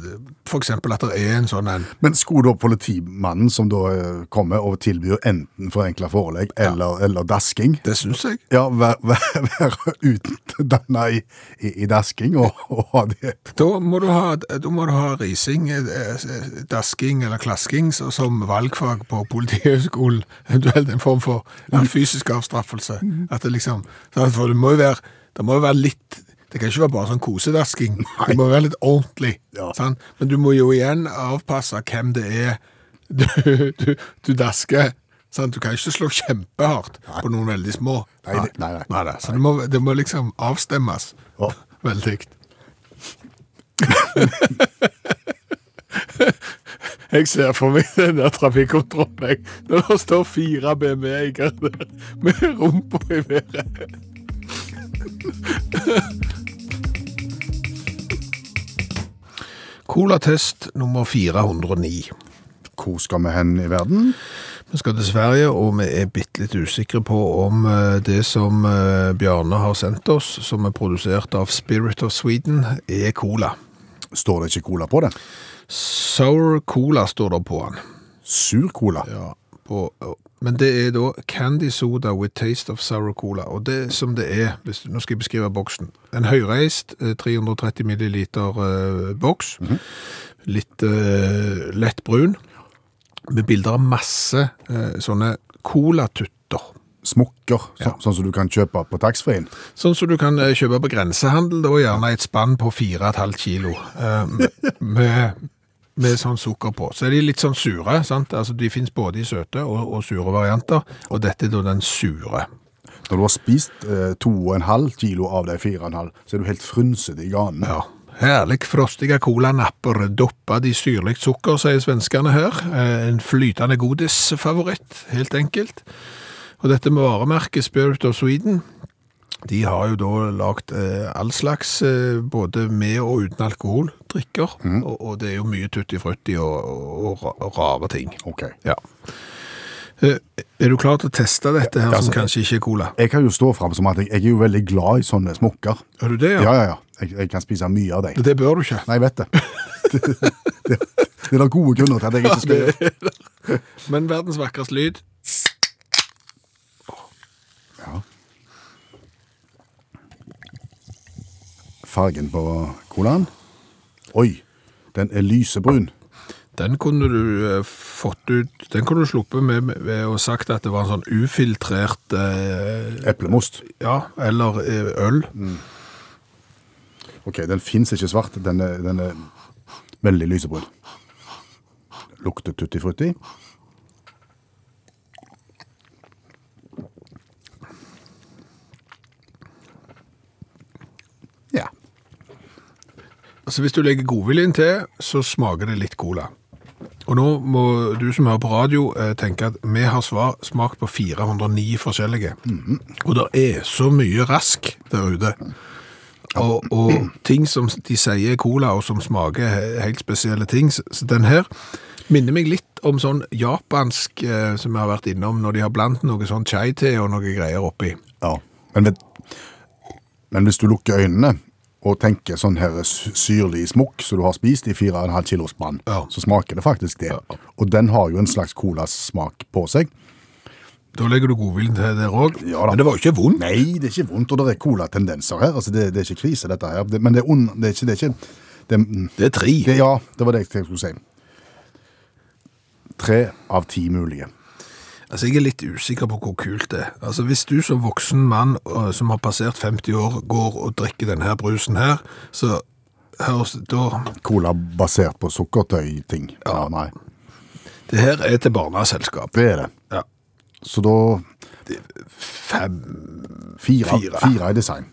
Speaker 3: F.eks. at det er en sånn en
Speaker 4: Men skulle da politimannen som da eh, kommer og tilbyr enten forenkla forelegg eller, eller dasking
Speaker 3: Det syns jeg.
Speaker 4: ja, være vær, vær utdanna i, i, i dasking og, og ha det
Speaker 3: Da må du ha, da må du ha rising, eh, dasking eller klasking så- som valgfag på Politihøgskolen. Eventuelt en form for en fysisk avstraffelse. At det liksom sånn at For det må jo være, det må jo være litt det kan ikke være bare sånn kosedasking. Det må være litt ordentlig.
Speaker 4: Ja.
Speaker 3: sant? Men du må jo igjen avpasse hvem det er du, du, du dasker. Sant? Du kan ikke slå kjempehardt på noen veldig små.
Speaker 4: Nei, det- nei, nei.
Speaker 3: nei. Så det må, det må liksom avstemmes
Speaker 4: Ja.
Speaker 3: veldig. Jeg ser for meg den der trafikkontrollen. jeg. Når det står fire BMW-eiere der med rumpa i været. Colatest nummer 409.
Speaker 4: Hvor skal vi hen i verden?
Speaker 3: Vi skal til Sverige, og vi er bitte litt usikre på om eh, det som eh, Bjarne har sendt oss, som er produsert av Spirit of Sweden, er cola.
Speaker 4: Står det ikke cola på det?
Speaker 3: Sour cola står det på den.
Speaker 4: Sur cola.
Speaker 3: Ja, på, men det er da candy soda with taste of sour cola. Og det som det er, hvis, nå skal jeg beskrive boksen. En høyreist, eh, 330 milliliter eh, boks. Litt eh, lett brun. Med bilder av masse eh, sånne colatutter.
Speaker 4: Smokker, så, sånn som du kan kjøpe på taxfree-en.
Speaker 3: Sånn som du kan eh, kjøpe på grensehandel, da gjerne et spann på 4,5 kilo eh, med- med, med sånn sukker på. Så er de litt sånn sure, sant? Altså, de finnes både i søte og, og sure varianter, og dette er da den sure.
Speaker 4: Når du har spist eh, 2,5 kilo av de 4,5, så er du helt frynsete i ganen.
Speaker 3: Ja. Herlig frostige colanapper, doppet i syrlig sukker, sier svenskene her. Eh, En flytende godisfavoritt, helt enkelt. Og dette med varemerket Spirit of Sweden, de har jo da lagt eh, all slags, eh, både med og uten alkohol, drikker.
Speaker 4: Mm.
Speaker 3: Og, og det er jo mye tuttifrutti og, og, ra- og rare ting.
Speaker 4: Ok.
Speaker 3: Ja. Eh, Er du klar til å teste dette her,
Speaker 4: Ja, altså,
Speaker 3: som kanskje ikke er cola?
Speaker 4: Jeg kan jo stå fram som at jeg, jeg er jo veldig glad i sånne smokker.
Speaker 3: Er du det,
Speaker 4: Ja, ja, ja. Jeg, jeg kan spise mye av dem.
Speaker 3: Det bør du ikke.
Speaker 4: Nei, jeg vet det. Det, det, det er da gode grunner til at jeg ikke skal gjøre det.
Speaker 3: Men verdens vakreste lyd.
Speaker 4: Fargen på colaen Oi, den er lysebrun.
Speaker 3: Den kunne du eh, fått ut Den kunne du sluppet med, med ved å sagt at det var en sånn ufiltrert eh,
Speaker 4: Eplemost.
Speaker 3: Ja, eller eh, øl.
Speaker 4: Ok, den fins ikke svart. Den er, den er veldig lysebrun. Lukter tutti frutti. Ja.
Speaker 3: Altså Hvis du legger godviljen til, så smaker det litt cola. Og nå må du som hører på radio eh, tenke at vi har svar, smakt på 409 forskjellige. Og det er så mye rask der ute. Og, og ting som de sier er cola, og som smaker he- helt spesielle ting. Så så den her minner meg litt om sånn japansk eh, som vi har vært innom, når de har blandt noe sånn chai-te og noe greier oppi.
Speaker 4: ja. Men, vet, men hvis du lukker øynene og tenker sånn her sy- syrlig smokk som du har spist i 4,5 kilos spann,
Speaker 3: Ja.
Speaker 4: så smaker det faktisk det. Og den har jo en slags colasmak på seg.
Speaker 3: Da legger du godviljen til der òg.
Speaker 4: Ja da.
Speaker 3: Men det var jo ikke vondt.
Speaker 4: Nei, det er ikke vondt, og det er colatendenser her. Altså, det, det er ikke krise, dette her. Det, men det er, ond, det er ikke, det er ikke det, er- mm,
Speaker 3: Det er tre.
Speaker 4: det, Ja, det var det jeg skulle si. Tre av ti mulige.
Speaker 3: Altså, Jeg er litt usikker på hvor kult det er. Altså, Hvis du som voksen mann øh, som har passert 50 år, går og drikker denne her brusen her, så høres da
Speaker 4: Cola basert på sukkertøyting. Ja, nei.
Speaker 3: Det her er til barneselskap.
Speaker 4: Det er det.
Speaker 3: Ja.
Speaker 4: Så da
Speaker 3: Fem
Speaker 4: Fire, av-
Speaker 3: Fire.
Speaker 4: fire i design.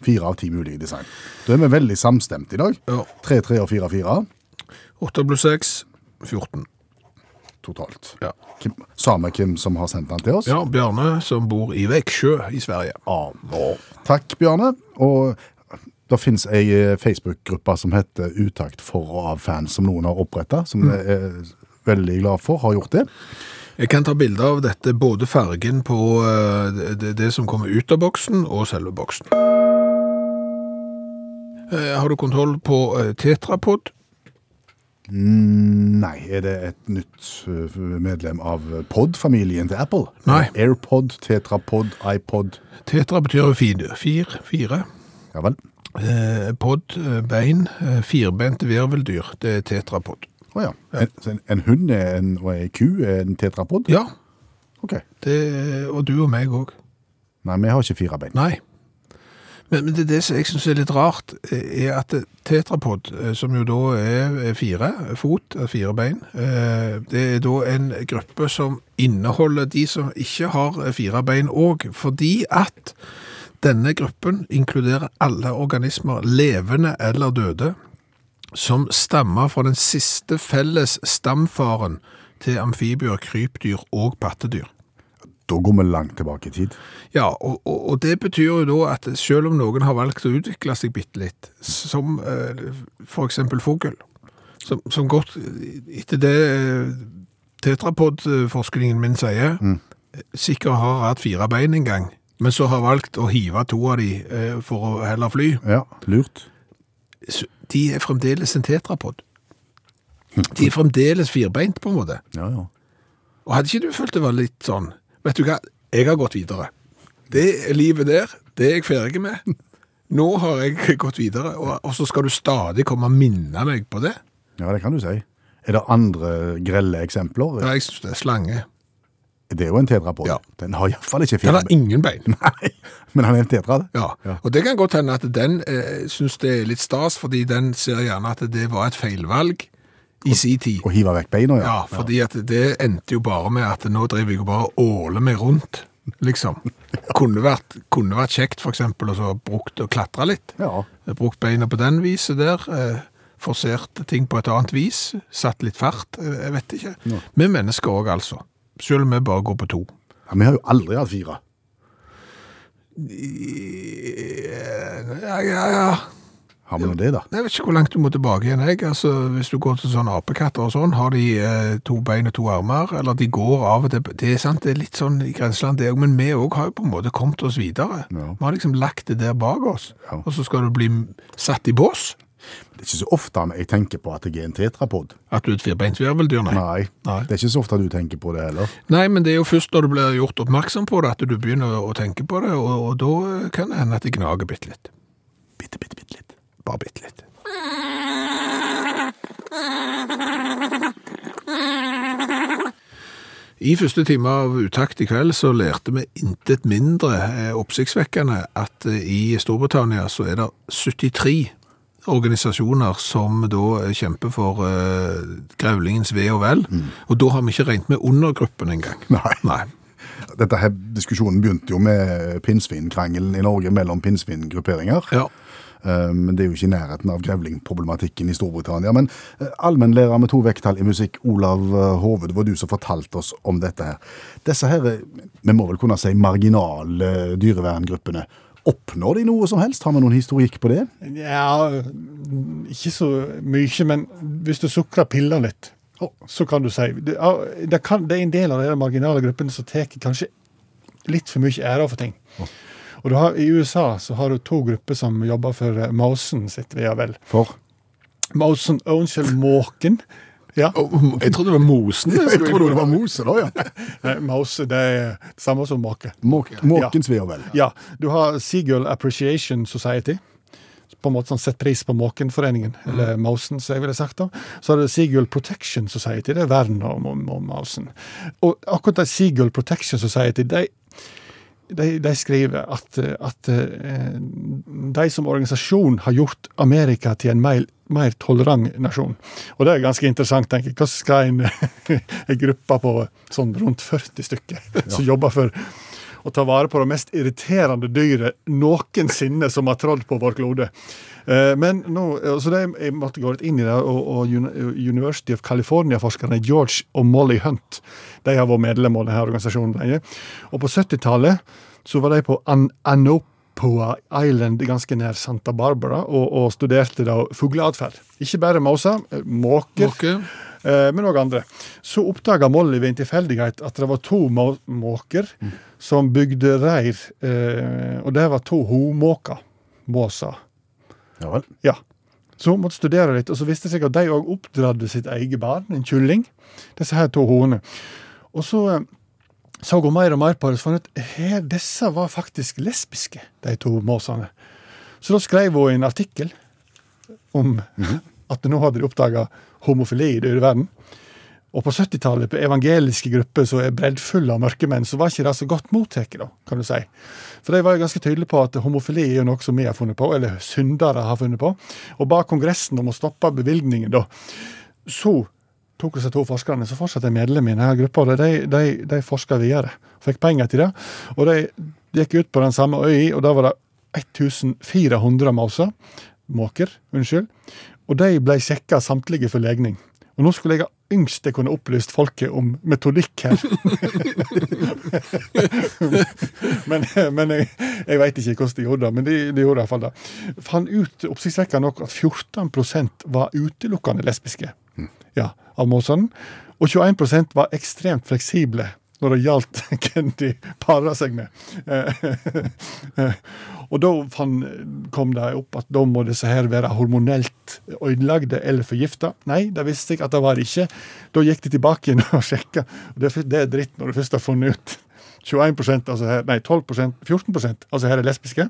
Speaker 4: Fire av ti mulige i design. Da er vi veldig samstemte i dag.
Speaker 3: Ja.
Speaker 4: Tre, tre og fire, fire
Speaker 3: Åtte pluss seks 14.
Speaker 4: totalt.
Speaker 3: Ja.
Speaker 4: Hvem, samme hvem som har sendt den til oss.
Speaker 3: ja, Bjarne, som bor i Veksjø i Sverige.
Speaker 4: Ja. Takk, Bjarne. Og det finnes ei eh, Facebook-gruppe som heter Utakt for og av fans, som noen har oppretta.
Speaker 3: Mm.
Speaker 4: Som jeg er veldig glad for har gjort det.
Speaker 3: Jeg kan ta bilde av dette, både fargen på øh, det, det som kommer ut av boksen, og selve boksen. Eh, Har du kontroll på øh, Tetrapod?
Speaker 4: Nei, er det et nytt eh, medlem av pod-familien til Apple?
Speaker 3: Nei.
Speaker 4: AirPod, Tetrapod, iPod
Speaker 3: Tetra betyr jo fire, fire, fire.
Speaker 4: Ja vel.
Speaker 3: Eh, Pod, eh, bein, eh, firbente virveldyr. Det er tetrapod.
Speaker 4: Å ja. En, så en, en hund er en, og ei ku er en tetrapod?
Speaker 3: Ja,
Speaker 4: Ok.
Speaker 3: det, og du og meg òg.
Speaker 4: Nei, vi har ikke fire bein.
Speaker 3: Nei. Men, men det, er det som jeg syns er litt rart, eh, er at eh, tetrapod, eh, som jo da er eh, fire fot, eh, fire bein, eh, det er da en gruppe som inneholder de som ikke har eh, fire bein òg, fordi at denne gruppen inkluderer alle organismer, levende eller døde, som stammer fra den siste felles stamfaren til amfibier, krypdyr og pattedyr.
Speaker 4: Da går vi langt tilbake i tid.
Speaker 3: Ja, og, og, og det betyr jo da at selv om noen har valgt å utvikle seg bitte litt, som eh, for eksempel fugl, som, som godt eh, etter det eh, tetrapod-forskningen min sier, sikkert har hatt fire bein en gang, men så har valgt å hive to av de eh, for å heller fly,
Speaker 4: Ja, lurt.
Speaker 3: så de er fremdeles en tetrapod. De er fremdeles firbeint på en måte.
Speaker 4: Ja, ja.
Speaker 3: Og hadde ikke du følt det var litt sånn Vet du hva, jeg har gått videre. Det livet der, det er jeg ferdig med. Nå har jeg gått videre, og, og så skal du stadig komme og minne meg på det?
Speaker 4: Ja, det kan du si. Er det andre grelle eksempler?
Speaker 3: Ja, jeg syns det er slange.
Speaker 4: Det er jo en tetrapod.
Speaker 3: Ja.
Speaker 4: Den har iallfall ikke
Speaker 3: Den
Speaker 4: fire
Speaker 3: har
Speaker 4: bein.
Speaker 3: ingen bein.
Speaker 4: Nei, men han er en tetra. det.
Speaker 3: Ja. Og det kan godt hende at den eh, syns det er litt stas, fordi den ser gjerne at det var et feilvalg i sin tid.
Speaker 4: Og hiver vekk beina, ja.
Speaker 3: Ja, fordi at det endte jo bare med at nå driver jeg og bare åler meg rundt, liksom. Kunne vært, kunne vært kjekt, for eksempel, og så brukt og klatre litt.
Speaker 4: Ja.
Speaker 3: Eh, Brukt beina på den viset der, eh, forsert ting på et annet vis, satt litt fart, eh, jeg vet ikke. Vi mennesker også, altså. Selv om vi bare går på to.
Speaker 4: ja. Vi har jo aldri hatt fire.
Speaker 3: Ja, ja, ja.
Speaker 4: Har vi nå det, da?
Speaker 3: Jeg vet ikke hvor langt du må tilbake igjen, jeg. Altså, hvis du går til sånne apekatter og sånn, har de eh, to bein og to armer, eller de går av og til. Det er sant, det er litt sånn i grenseland det òg, men vi òg har jo på en måte kommet oss videre.
Speaker 4: Ja.
Speaker 3: Vi har liksom lagt det der bak oss,
Speaker 4: Ja.
Speaker 3: og så skal du bli satt i bås.
Speaker 4: Det er ikke så ofte jeg tenker på at jeg er en tetrapod.
Speaker 3: At du er et firbeint virveldyr, nei.
Speaker 4: Nei.
Speaker 3: Nei.
Speaker 4: Det er ikke så ofte du tenker på det heller.
Speaker 3: Nei, men det er jo først når du blir gjort oppmerksom på det, at du begynner å tenke på det, og, og da kan det hende at det gnager bitte litt.
Speaker 4: Bitte, bitte, bitte litt.
Speaker 3: Bare bitte litt. I første time av Utakt i kveld så lærte vi intet mindre eh, oppsiktsvekkende at eh, i Storbritannia så er det 73 organisasjoner som da eh, kjemper for eh, grevlingens ve og vel. Og da har vi ikke regnet med undergruppen engang.
Speaker 4: Nei.
Speaker 3: Nei.
Speaker 4: Dette her, diskusjonen begynte jo med pinnsvinkrangelen i Norge mellom pinnsvingrupperinger.
Speaker 3: Ja.
Speaker 4: Eh, Men det er jo ikke i nærheten av grevlingproblematikken i Storbritannia. Men eh, allmennlærer med to vekttall i musikk, Olav eh, Hove, det var du som fortalte oss om dette her. Disse her, eh, vi må vel kunne si marginale dyreverngruppene, oppnår de noe som helst? Har vi noen historikk på det?
Speaker 6: Ja, ikke så mye, men hvis du sukrer piller litt,
Speaker 4: Å.
Speaker 6: så kan du si det, ja, det, kan, det er en del av de marginale gruppene som tar kanskje litt for mye ære for ting. Og du har, I USA så har du to grupper som jobber for eh, Mausen sitt ve og vel.
Speaker 4: For?
Speaker 6: Mausen Unnskyld, Måken. Ja,
Speaker 3: Og Jeg trodde det var mosen. jeg skulle
Speaker 4: trodde det var mose da, ja.
Speaker 6: nei, Eh, Mause det er det samme som måke.
Speaker 4: Måk, måkens ve og vel.
Speaker 6: Ja, Du har Seagull Appreciation Society. På en måte sånn Sett pris på Måkenforeningen, eller Mausen, som jeg ville sagt. da. Så har du Seagull Protection Society, det er vern om, om, om Mausen. Og akkurat det Seagull Protection Society, de, de, de skriver at, eh, at eh, de som organisasjon har gjort Amerika til en mer, mer tolerant nasjon. Og det er ganske interessant, tenker jeg. Hva skal en, en gruppe på sånn rundt 40 stykker som jobber for å ta vare på det mest irriterende dyret noensinne som har trådd på vår klode. Eh, Men nå, så det, Jeg måtte gå litt inn i det, og, og Uni- University of California-forskerne George og Molly Hunt de har vært medlem av denne organisasjonen lenge. Og På 70-tallet så var de på An Anopoa Island ganske nær Santa Barbara og, og studerte da fugleatferd. Ikke bare måser, eh, måker,
Speaker 3: Måke.
Speaker 6: eh, men òg andre. Så oppdaga Molly ved en tilfeldighet at det var to må måker som bygde reir, eh, og det var to homåker. Måser.
Speaker 4: Ja vel.
Speaker 6: Ja. Så hun måtte studere litt, og så viste det seg at de òg oppdradde sitt eget barn, en kylling. Disse her to hoene. Og så eh, så hun mer og mer på det, så fant hun ut her, disse var faktisk lesbiske, de to måsene. Så da skrev hun en artikkel om at nå hadde de oppdaga homofili i dyreverden. Og på 70-tallet, på evangeliske grupper som er breddfulle av mørke menn, så var ikke det så godt mottatt, da, kan du si. For de var jo ganske tydelige på at homofili er jo noe som vi har funnet på, eller syndere har funnet på. Og ba Kongressen om å stoppe bevilgningen, da. Så tok disse to forskerne, så fortsatte jeg medlem i denne gruppa, og de, de, de forska videre. Fikk penger til det. Og de gikk ut på den samme øya, og der var det 1400 mauser. Måker, unnskyld. Og de ble sjekka samtlige for legning. Og nå skulle jeg ha yngst jeg kunne opplyst folket om metodikk her. men men jeg, jeg veit ikke hvordan de gjorde det, men de, de gjorde iallfall det. Fant ut oppsiktsvekkende nok at 14 var utelukkende lesbiske ja, av måsene. Og 21 var ekstremt fleksible når det gjaldt hvem de para seg med. Eh, og da fann, kom det opp at da må disse her være hormonelt ødelagte eller forgifta. Nei, det visste jeg at det var det ikke. Da gikk de tilbake igjen og sjekka. Og Det, er fyr- det er dritt når du først har funnet ut. 21 altså her, nei, 12 14 altså her er lesbiske.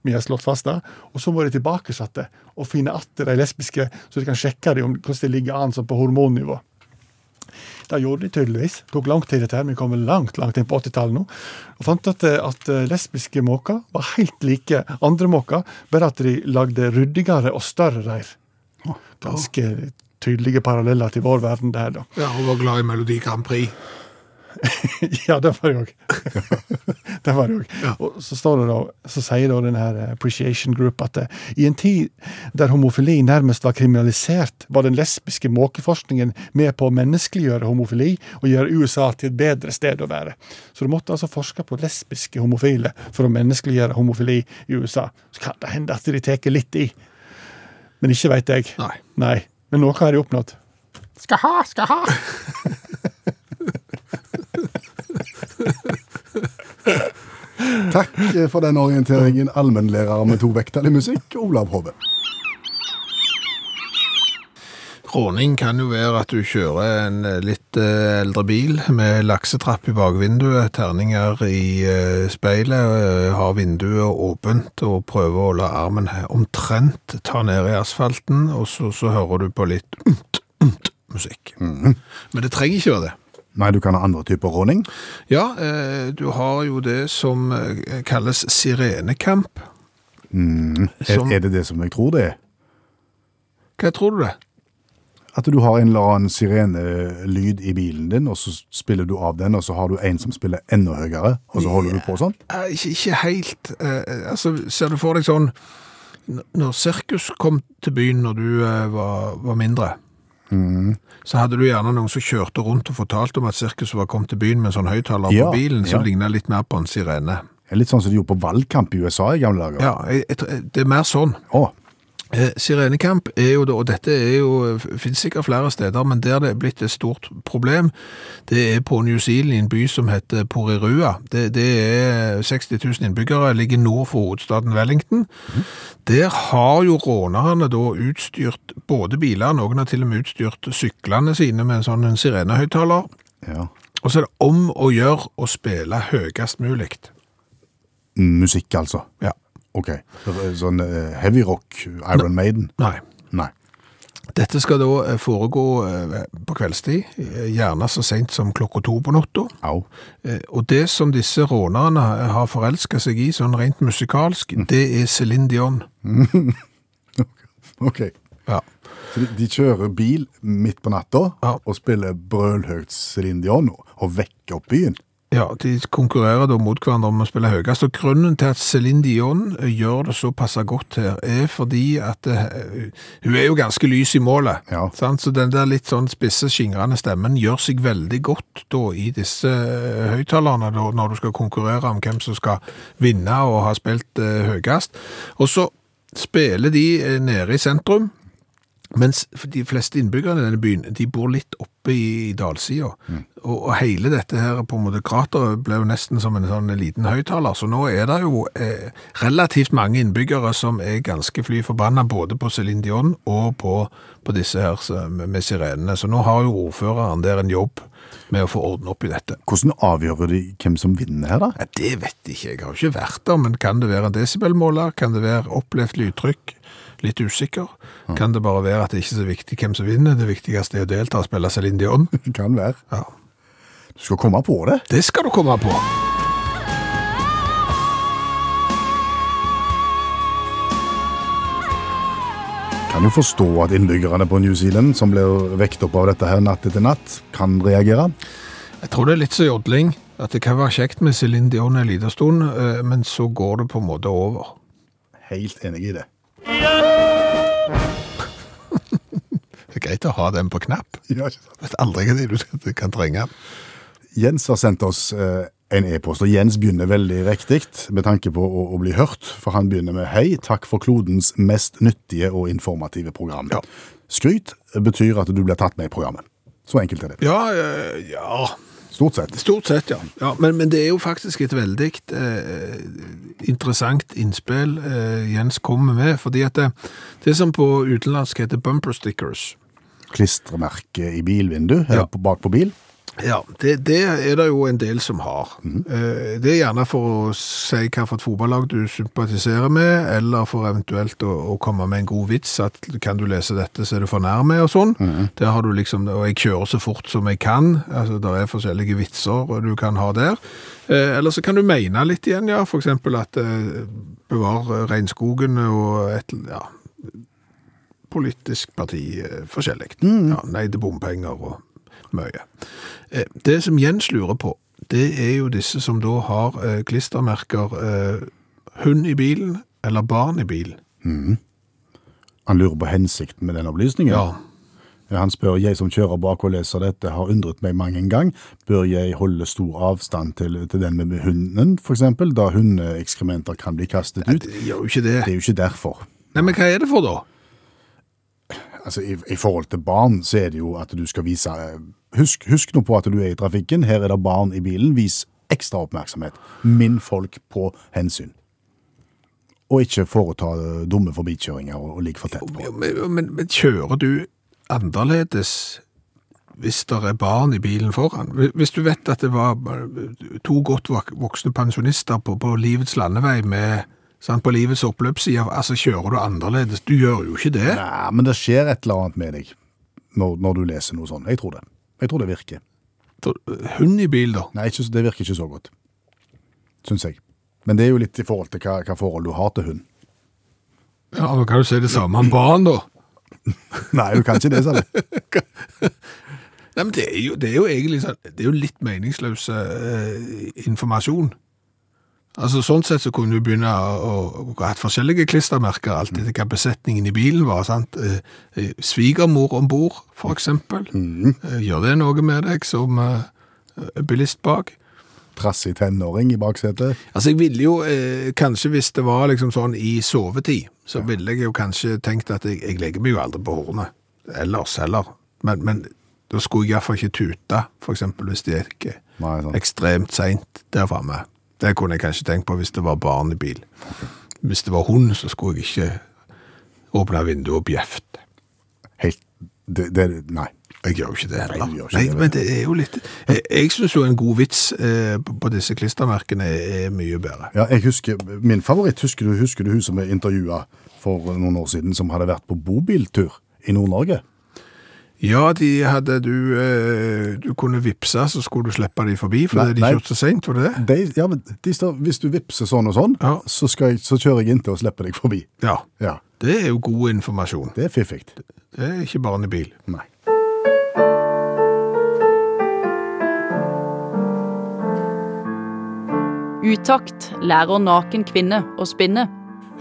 Speaker 6: Vi har slått fast det. Og så må de tilbakesatte og finne igjen de lesbiske, så de kan sjekke dem om hvordan det ligger an sånn på hormonnivå. Det gjorde de tydeligvis. Det tok lang tid, dette her. Vi kommer langt langt inn på 80-tallet nå. Og fant at, at eh, lesbiske måker var helt like andre måker, bare at de lagde ryddigere og større reir. Ganske tydelige paralleller til vår verden der, da.
Speaker 3: Ja, hun var glad i Melodi Grand Prix.
Speaker 6: Ja, det var det òg. det var det òg. Og så står det da, så sier da den her Appreciation Group at eh, i en tid der homofili nærmest var kriminalisert, var den lesbiske måkeforskningen med på å menneskeliggjøre homofili og gjøre USA til et bedre sted å være. Så du måtte altså forske på lesbiske homofile for å menneskeliggjøre homofili i USA. Så kan det hende at de tar litt i. Men ikke veit jeg.
Speaker 3: Nei.
Speaker 6: Nei. Men noe har de oppnådd.
Speaker 7: Skal ha, skal ha.
Speaker 4: Takk eh, for den orienteringen, allmennlærer med to vekttall i musikk, Olav Hove.
Speaker 3: Råning kan jo være at du kjører en eh, litt eh, eldre bil med laksetrapp i bakvinduet, terninger i eh, speilet, eh, har vinduet åpent og prøver å la armen he- omtrent ta ned i Mhm. asfalten, og så, så hører du på litt umt, umt musikk. Men det trenger ikke være det.
Speaker 4: Nei, du kan ha andre typer råning.
Speaker 3: Ja, eh, du har jo det som eh, kalles sirenekamp.
Speaker 4: Er,
Speaker 3: Som-
Speaker 4: er det det som jeg tror det er?
Speaker 3: Hva tror du det?
Speaker 4: At du har en eller annen sirenelyd i bilen din, og så spiller du av den, og så har du en som spiller enda høyere, og så holder du på sånn?
Speaker 3: Eh, Ikke, ikke helt. Eh, altså, ser du for deg sånn n- Når sirkus kom til byen når du eh, var, var mindre,
Speaker 4: Mm.
Speaker 3: så hadde du gjerne noen som kjørte rundt og fortalte om at sirkuset var kommet til byen med en sånn høyttaler
Speaker 4: Ja,
Speaker 3: på bilen som
Speaker 4: ja.
Speaker 3: lignet litt mer på en sirene.
Speaker 4: Det er Litt sånn som de gjorde på valgkamp i USA i gamle dager.
Speaker 3: Ja, jeg, jeg, tror- det er mer sånn.
Speaker 4: Å,
Speaker 3: Eh, Sirenekamp er jo, da- og dette er jo, finnes sikkert flere steder, men der det er blitt et stort problem, det er på New Zealand, i en by som heter Porirua. Det, det er 60 000 innbyggere, ligger nord for hovedstaden Wellington. Der har jo rånerne da utstyrt både biler, noen har til og med utstyrt syklene sine med en sånn en sirenehøyttaler,
Speaker 4: ja.
Speaker 3: og så er det om å gjøre å spille høyest mulig.
Speaker 4: Musikk, altså.
Speaker 3: Ja,
Speaker 4: Ok. Sånn eh, heavy rock, Iron Maiden?
Speaker 3: nei.
Speaker 4: Nei.
Speaker 3: Dette skal da eh, foregå eh, på kveldstid, eh, gjerne så sent som klokka to på natta.
Speaker 4: Au.
Speaker 3: Eh, Og det som disse rånerne eh, har forelska seg i, sånn rent musikalsk, det er Céline Dion.
Speaker 4: Ok.
Speaker 3: Ja.
Speaker 4: Så de, de kjører bil midt på natta
Speaker 3: Ja.
Speaker 4: og spiller brølhøyt Céline Dion og- og vekker opp byen.
Speaker 3: ja, de konkurrerer da mot hverandre om å spille høyest. Og grunnen til at Céline Dion eh, gjør det såpass godt her, er fordi at eh, hun er jo ganske lys i målet.
Speaker 4: Ja.
Speaker 3: Sant? Så den der litt sånn spisse, skingrende stemmen gjør seg veldig godt da i disse eh, høyttalerne da, når du skal konkurrere om hvem som skal vinne og ha spilt eh, høyest. Og så spiller de eh, nede i sentrum, mens for de fleste innbyggerne i denne byen, de bor litt oppe i, i dalsida. Og, og hele dette her på en måte krateret ble jo nesten som en sånn liten høyttaler, så nå er det jo eh, relativt mange innbyggere som er ganske fly forbanna både på Céline Dion og på, på disse her som- med, med sirenene. Så nå har jo ordføreren der en jobb med å få orden opp i dette.
Speaker 4: Hvordan avgjør de hvem som vinner her, da?
Speaker 3: Ja, det vet jeg ikke, jeg har jo ikke vært der, men kan det være en desibelmåler? Kan det være opplevd lydtrykk? Litt usikker. Kan det bare være at det ikke er så viktig hvem som vinner, det viktigste er å delta og spille Céline Dion?
Speaker 4: Det kan være.
Speaker 3: Ja.
Speaker 4: Du skal komme på det.
Speaker 3: Det skal du komme på!
Speaker 4: Kan jo forstå at innbyggerne på New Zealand, som blir vekt opp av dette her natt etter natt, kan reagere.
Speaker 3: Jeg tror det er litt så jodling, at det kan være kjekt med Céline Dion en liten stund, eh, men så går det på en måte over.
Speaker 4: Helt enig i det.
Speaker 3: Det er greit å ha den på knapp.
Speaker 4: Ja, ikke sant?
Speaker 3: Vet aldri hva det er du kan trenge.
Speaker 4: Jens har sendt oss eh, en e-post, og Jens begynner veldig riktig med tanke på å, å bli hørt, for han begynner med hei, takk for klodens mest nyttige og informative program.
Speaker 3: Ja.
Speaker 4: Skryt betyr at du blir tatt med i programmet. Så enkelt er det.
Speaker 3: Ja, eh, ja
Speaker 4: Stort sett.
Speaker 3: Stort sett, ja. ja men, men det er jo faktisk et veldig eh, interessant innspill eh, Jens kommer med, fordi at det, det som på utenlandsk heter bumper stickers,
Speaker 4: Klistremerke i bilvindu,
Speaker 3: Ja.
Speaker 4: eller på, bak på bil.
Speaker 3: ja, det, det er det jo en del som har. Eh, det er gjerne for å si hvilket fotballag du sympatiserer med, eller for eventuelt å, å komme med en god vits, at kan du lese dette så er du for nærme og sånn. Der har du liksom, og jeg kjører så fort som jeg kan, altså det er forskjellige vitser du kan ha der. Eh, eller så kan du mene litt igjen, ja, for eksempel at eh, bevar regnskogen og et, ja, politisk parti eh, forskjellig. Ja, nei til bompenger og mye. Eh, Det som Jens lurer på, det er jo disse som da har eh, klistermerker eh, hund i bilen eller barn i bilen.
Speaker 4: Han lurer på hensikten med den opplysningen.
Speaker 3: Ja.
Speaker 4: Han spør jeg som kjører bak og leser dette, har undret meg mange en gang. Bør jeg holde stor avstand til, til den med hunden, for eksempel, da hundeekskrementer kan bli kastet ut?
Speaker 3: De gjør jo ikke det.
Speaker 4: Det er jo ikke derfor.
Speaker 3: Nei, men hva er det for da?
Speaker 4: Altså, i, I forhold til barn så er det jo at du skal vise eh, Husk, husk nå på at du er i trafikken. Her er det barn i bilen. Vis ekstra oppmerksomhet. Minn folk på hensyn. Og ikke foreta eh, dumme forbikjøringer og, og ligge for tett på.
Speaker 3: Jo, Men, men, men kjører du annerledes hvis det er barn i bilen foran? Hvis du vet at det var eh, to godt vok- voksne pensjonister på, på livets landevei med sant, på livets oppløpsside, altså kjører du annerledes? Du gjør jo ikke det.
Speaker 4: Nei, men det skjer et eller annet med deg når, når du leser noe sånt. Jeg tror det. Jeg tror det virker.
Speaker 3: setter hund i bil, da?
Speaker 4: Nei, ikke, så- det virker ikke så godt. Syns jeg. Men det er jo litt i forhold til hva, hva forhold du har til hund.
Speaker 3: Ja, Da kan du si det samme om barn, da.
Speaker 4: Nei, du kan ikke det, sa du.
Speaker 3: Nei, men det er jo, det er jo egentlig sånn, det er jo litt meningsløs eh, informasjon. Altså, Sånn sett så kunne du begynne å, å, å ha hatt forskjellige klistremerker, alt etter hva besetningen i bilen var. sant? Eh, eh, svigermor om bord, for eksempel. Eh, gjør det noe med deg som eh, bilist bak?
Speaker 4: Trassig tenåring i baksetet.
Speaker 3: Altså, jeg ville jo, eh, kanskje hvis det var liksom sånn i sovetid, så ville jeg jo kanskje tenkt at jeg, jeg legger meg jo aldri på hornet. Ellers heller. Men, men da skulle jeg i hvert fall ikke tute, for eksempel, hvis det gikk eh,
Speaker 4: Nei, sant.
Speaker 3: ekstremt sent der fremme. Det kunne jeg kanskje tenkt på hvis det var barn i bil. Hvis det var hund, så skulle jeg ikke åpne vinduet og bjefte.
Speaker 4: Helt det, det, Nei.
Speaker 3: Jeg gjør jo ikke det heller.
Speaker 4: Nei, du gjør ikke
Speaker 3: Nei,
Speaker 4: det, vet
Speaker 3: men det er jo litt... Jeg, jeg synes jo en god vits eh, på på disse klistermerkene er, er mye bedre.
Speaker 4: Ja, jeg husker, Min favoritt husker du, husker du hun som vi intervjua for noen år siden, som hadde vært på bobiltur i Nord-Norge?
Speaker 3: Ja, de hadde du eh, Du kunne vippse, så skulle du slippe de forbi, for
Speaker 4: Nei,
Speaker 3: de
Speaker 4: nei. Mm.
Speaker 3: kjørte så seint, var det det?
Speaker 4: De, ja, men de står, Hvis du vippser sånn og sånn,
Speaker 3: Ja.
Speaker 4: så, skal jeg, så kjører jeg inntil og slipper deg forbi.
Speaker 3: Ja.
Speaker 4: Ja,
Speaker 3: Det er jo god informasjon.
Speaker 4: Det er fiffig.
Speaker 3: Det er ikke barnebil.
Speaker 4: Nei.
Speaker 8: Utakt lærer naken kvinne å spinne.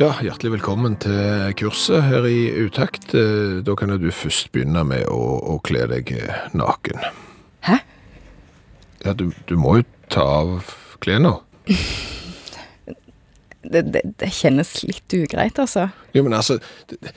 Speaker 3: Ja, hjertelig velkommen til kurset her i Utakt. Eh, Da kan jo du først begynne med å, å kle deg eh, naken.
Speaker 9: Hæ?
Speaker 3: Ja, du, du må jo ta av klærne.
Speaker 9: Det, det, det kjennes litt ugreit, altså.
Speaker 3: Jo, men altså det- det-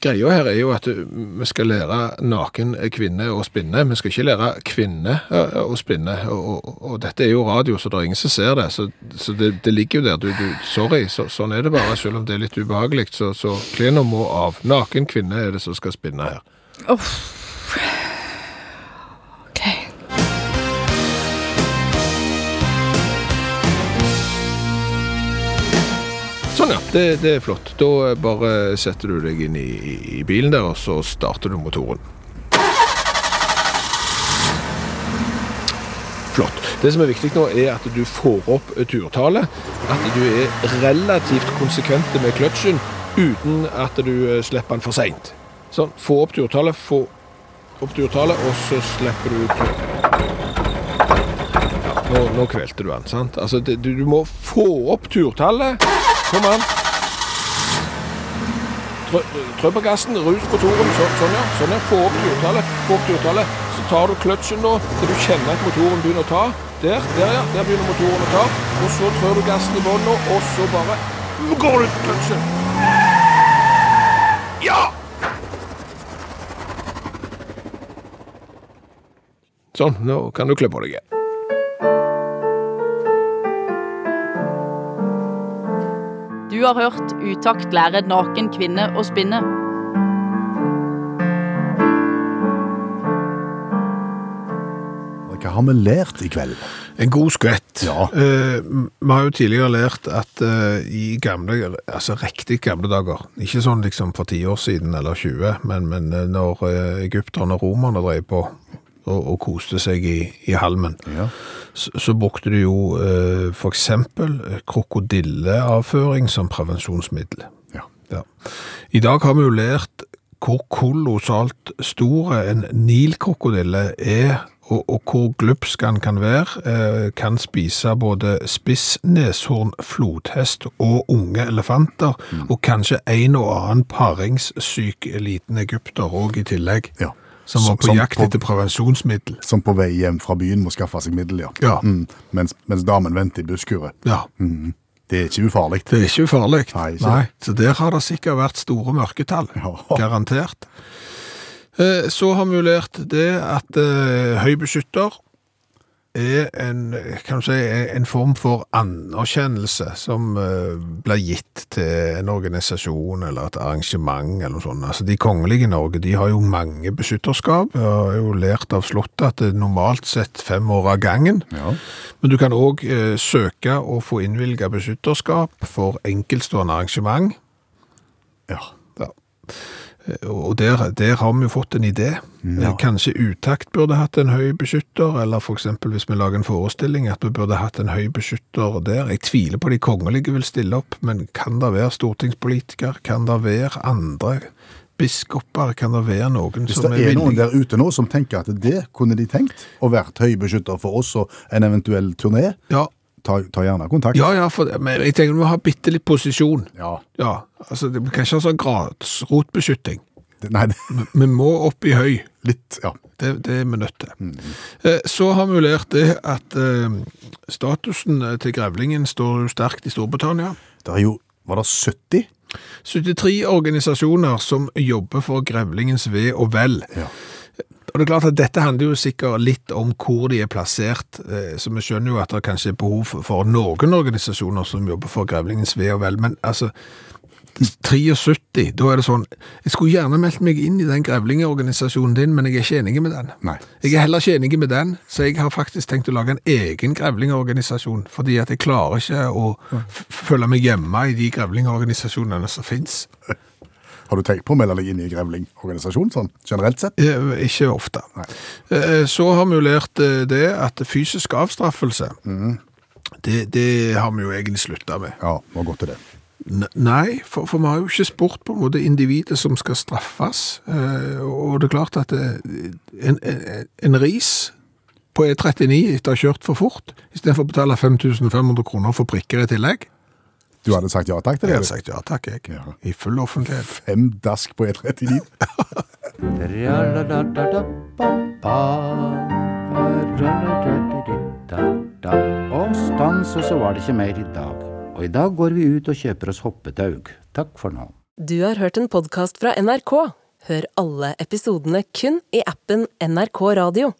Speaker 3: Greia her er jo at eh, vi skal lære naken eh, kvinne å spinne. Vi skal ikke lære kvinne eh, å spinne. Og, og, og dette er jo radio, så det er ingen som ser det. Så, så det, det ligger jo der. Du, du, sorry, så, sånn er det bare. Selv om det er litt ubehagelig, så, så klærne må av. Naken kvinne er det som skal spinne her.
Speaker 9: Ok.
Speaker 3: Sånn, ja. Det, det er flott. Da eh, bare setter du deg inn i, i- i bilen der, og så starter du motoren. Flott. Det som er viktig nå, er at du får opp turtallet. At du er relativt konsekvente med kløtsjen uten at du eh, slipper den for seint. Sånn. Få opp turtallet, få opp turtallet, og så slipper du kløtsjen. Nå, nå kvelte du han, sant? Altså, det, du, du må få opp turtallet. Kom an. Trø, trø på gassen, rus på toren. Så, sånn, ja. Sånn, ja. Få opp turtallet. Få opp turtallet. Så tar du kløtsjen nå, til du kjenner at motoren begynner å ta. Der, der, ja. Der begynner motoren å ta. Og så trør du gassen i bånn nå, og så bare går du til kløtsjen. Ja! Sånn, nå kan du klø på deg igjen.
Speaker 8: Du har hørt Utakt lærer naken kvinne å spinne.
Speaker 4: Hva har vi lært i kveld?
Speaker 3: En god skvett.
Speaker 4: Ja.
Speaker 3: Eh, vi har jo tidligere lært at eh, i gamle, altså riktig gamle dager, ikke sånn liksom for 10 år siden eller 20, men, men eh, når eh, egypterne og romerne drev på og, og koste seg i, i halmen, så, så brukte de jo eh, for eksempel krokodilleavføring som prevensjonsmiddel.
Speaker 4: Ja.
Speaker 3: Ja. I dag har vi jo lært hvor kolossalt store en nilkrokodille er, og, og hvor glupsk han kan være. Eh, kan spise både spissneshorn, flodhest og unge elefanter,
Speaker 4: Mm.
Speaker 3: og kanskje en og annen paringssyk liten egypter òg i tillegg,
Speaker 4: Ja.
Speaker 3: som var på
Speaker 4: Som- som
Speaker 3: jakt
Speaker 4: på-
Speaker 3: etter prevensjonsmiddel.
Speaker 4: Som på vei hjem fra byen må skaffe seg middel, ja.
Speaker 3: Ja.
Speaker 4: Mm, mens, mens damen venter i busskuret.
Speaker 3: Ja.
Speaker 4: Mm. Det er ikke ufarlig.
Speaker 3: Det er ikke ufarlig.
Speaker 4: Nei, ikke.
Speaker 3: Så der har det sikkert vært store mørketall.
Speaker 4: Ja.
Speaker 3: Garantert. Eh, Så har vi jo lært det at eh, høy beskytter er en, kan du si, en form for anerkjennelse som eh, blir gitt til en organisasjon eller et arrangement eller noe sånt. Altså, de kongelige i Norge de har jo mange beskytterskap. Jeg har jo lært av Slottet at det er normalt sett fem år av gangen.
Speaker 4: Ja.
Speaker 3: Men du kan òg eh, søke og få innvilga beskytterskap for enkeltstående arrangement.
Speaker 4: Ja.
Speaker 3: Ja. Eh, Og der, der har vi jo fått en idé.
Speaker 4: Mm.
Speaker 3: Eh, Kanskje utakt burde hatt en høy beskytter, eller f.eks. hvis vi lager en forestilling, at vi burde hatt en høy beskytter der. Jeg tviler på de kongelige vil stille opp, men kan det være stortingspolitiker? Kan det være andre biskoper? Kan det være noen
Speaker 4: Hvis
Speaker 3: som
Speaker 4: det
Speaker 3: er
Speaker 4: er noen
Speaker 3: villige?
Speaker 4: der ute nå som tenker at det kunne de tenkt, og vært høybeskytter for oss og en eventuell turné,
Speaker 3: Ja,
Speaker 4: ta, ta gjerne kontakt.
Speaker 3: ja, ja for, men jeg tenker vi må ha bitte litt posisjon.
Speaker 4: Ja.
Speaker 3: Ja, altså det vi kan ikke ha sånn grasrotbeskytting.
Speaker 4: Det- Nei, det,
Speaker 3: Vi må opp i høy.
Speaker 4: litt, ja.
Speaker 3: Det, det er vi nødt til. Eh, Så har vi lært det at eh, statusen til grevlingen står jo sterkt i Storbritannia.
Speaker 4: Det er jo, var det 70?
Speaker 3: 73 organisasjoner som jobber for grevlingens ve og vel.
Speaker 4: Ja.
Speaker 3: Og det er klart at Dette handler jo sikkert litt om hvor de er plassert, eh, så vi skjønner jo at det kanskje er behov for noen organisasjoner som jobber for grevlingens ve og vel, men altså 73, da er det sånn Jeg skulle gjerne meldt meg inn i den grevlingeorganisasjonen din, men jeg er ikke enig med den.
Speaker 4: Nei.
Speaker 3: Jeg er heller ikke enig med den, så jeg har faktisk tenkt å lage en egen grevlingorganisasjon, fordi at jeg klarer ikke å f- føle meg hjemme i de grevlingorganisasjonene som finnes.
Speaker 4: Har du tenkt på å melde deg inn i grevlingorganisasjon, sånn generelt sett?
Speaker 3: Eh, Ikke ofte.
Speaker 4: Nei.
Speaker 3: Eh, Så har vi jo lært eh, det at fysisk avstraffelse, det, det har vi jo egentlig slutta med.
Speaker 4: Ja, må gå til det.
Speaker 3: N- Nei, for, for vi har jo ikke spurt på en måte individet som skal straffes. Eh, og det er klart at eh, en, en, en ris på E39 etter å ha kjørt for fort, istedenfor å betale 5500 kroner for prikker i tillegg
Speaker 4: Du hadde sagt ja takk til
Speaker 3: Jeg hadde
Speaker 4: det? du?
Speaker 3: sagt ja takk, jeg.
Speaker 4: Ja.
Speaker 3: I full offentlighet.
Speaker 4: Fem dask på E39?
Speaker 2: Og stans, og så var det ikke mer i dag. Og i dag går vi ut og kjøper oss hoppetaug. Takk for nå.
Speaker 10: Du har hørt en podkast fra NRK. Hør alle episodene kun i appen NRK Radio.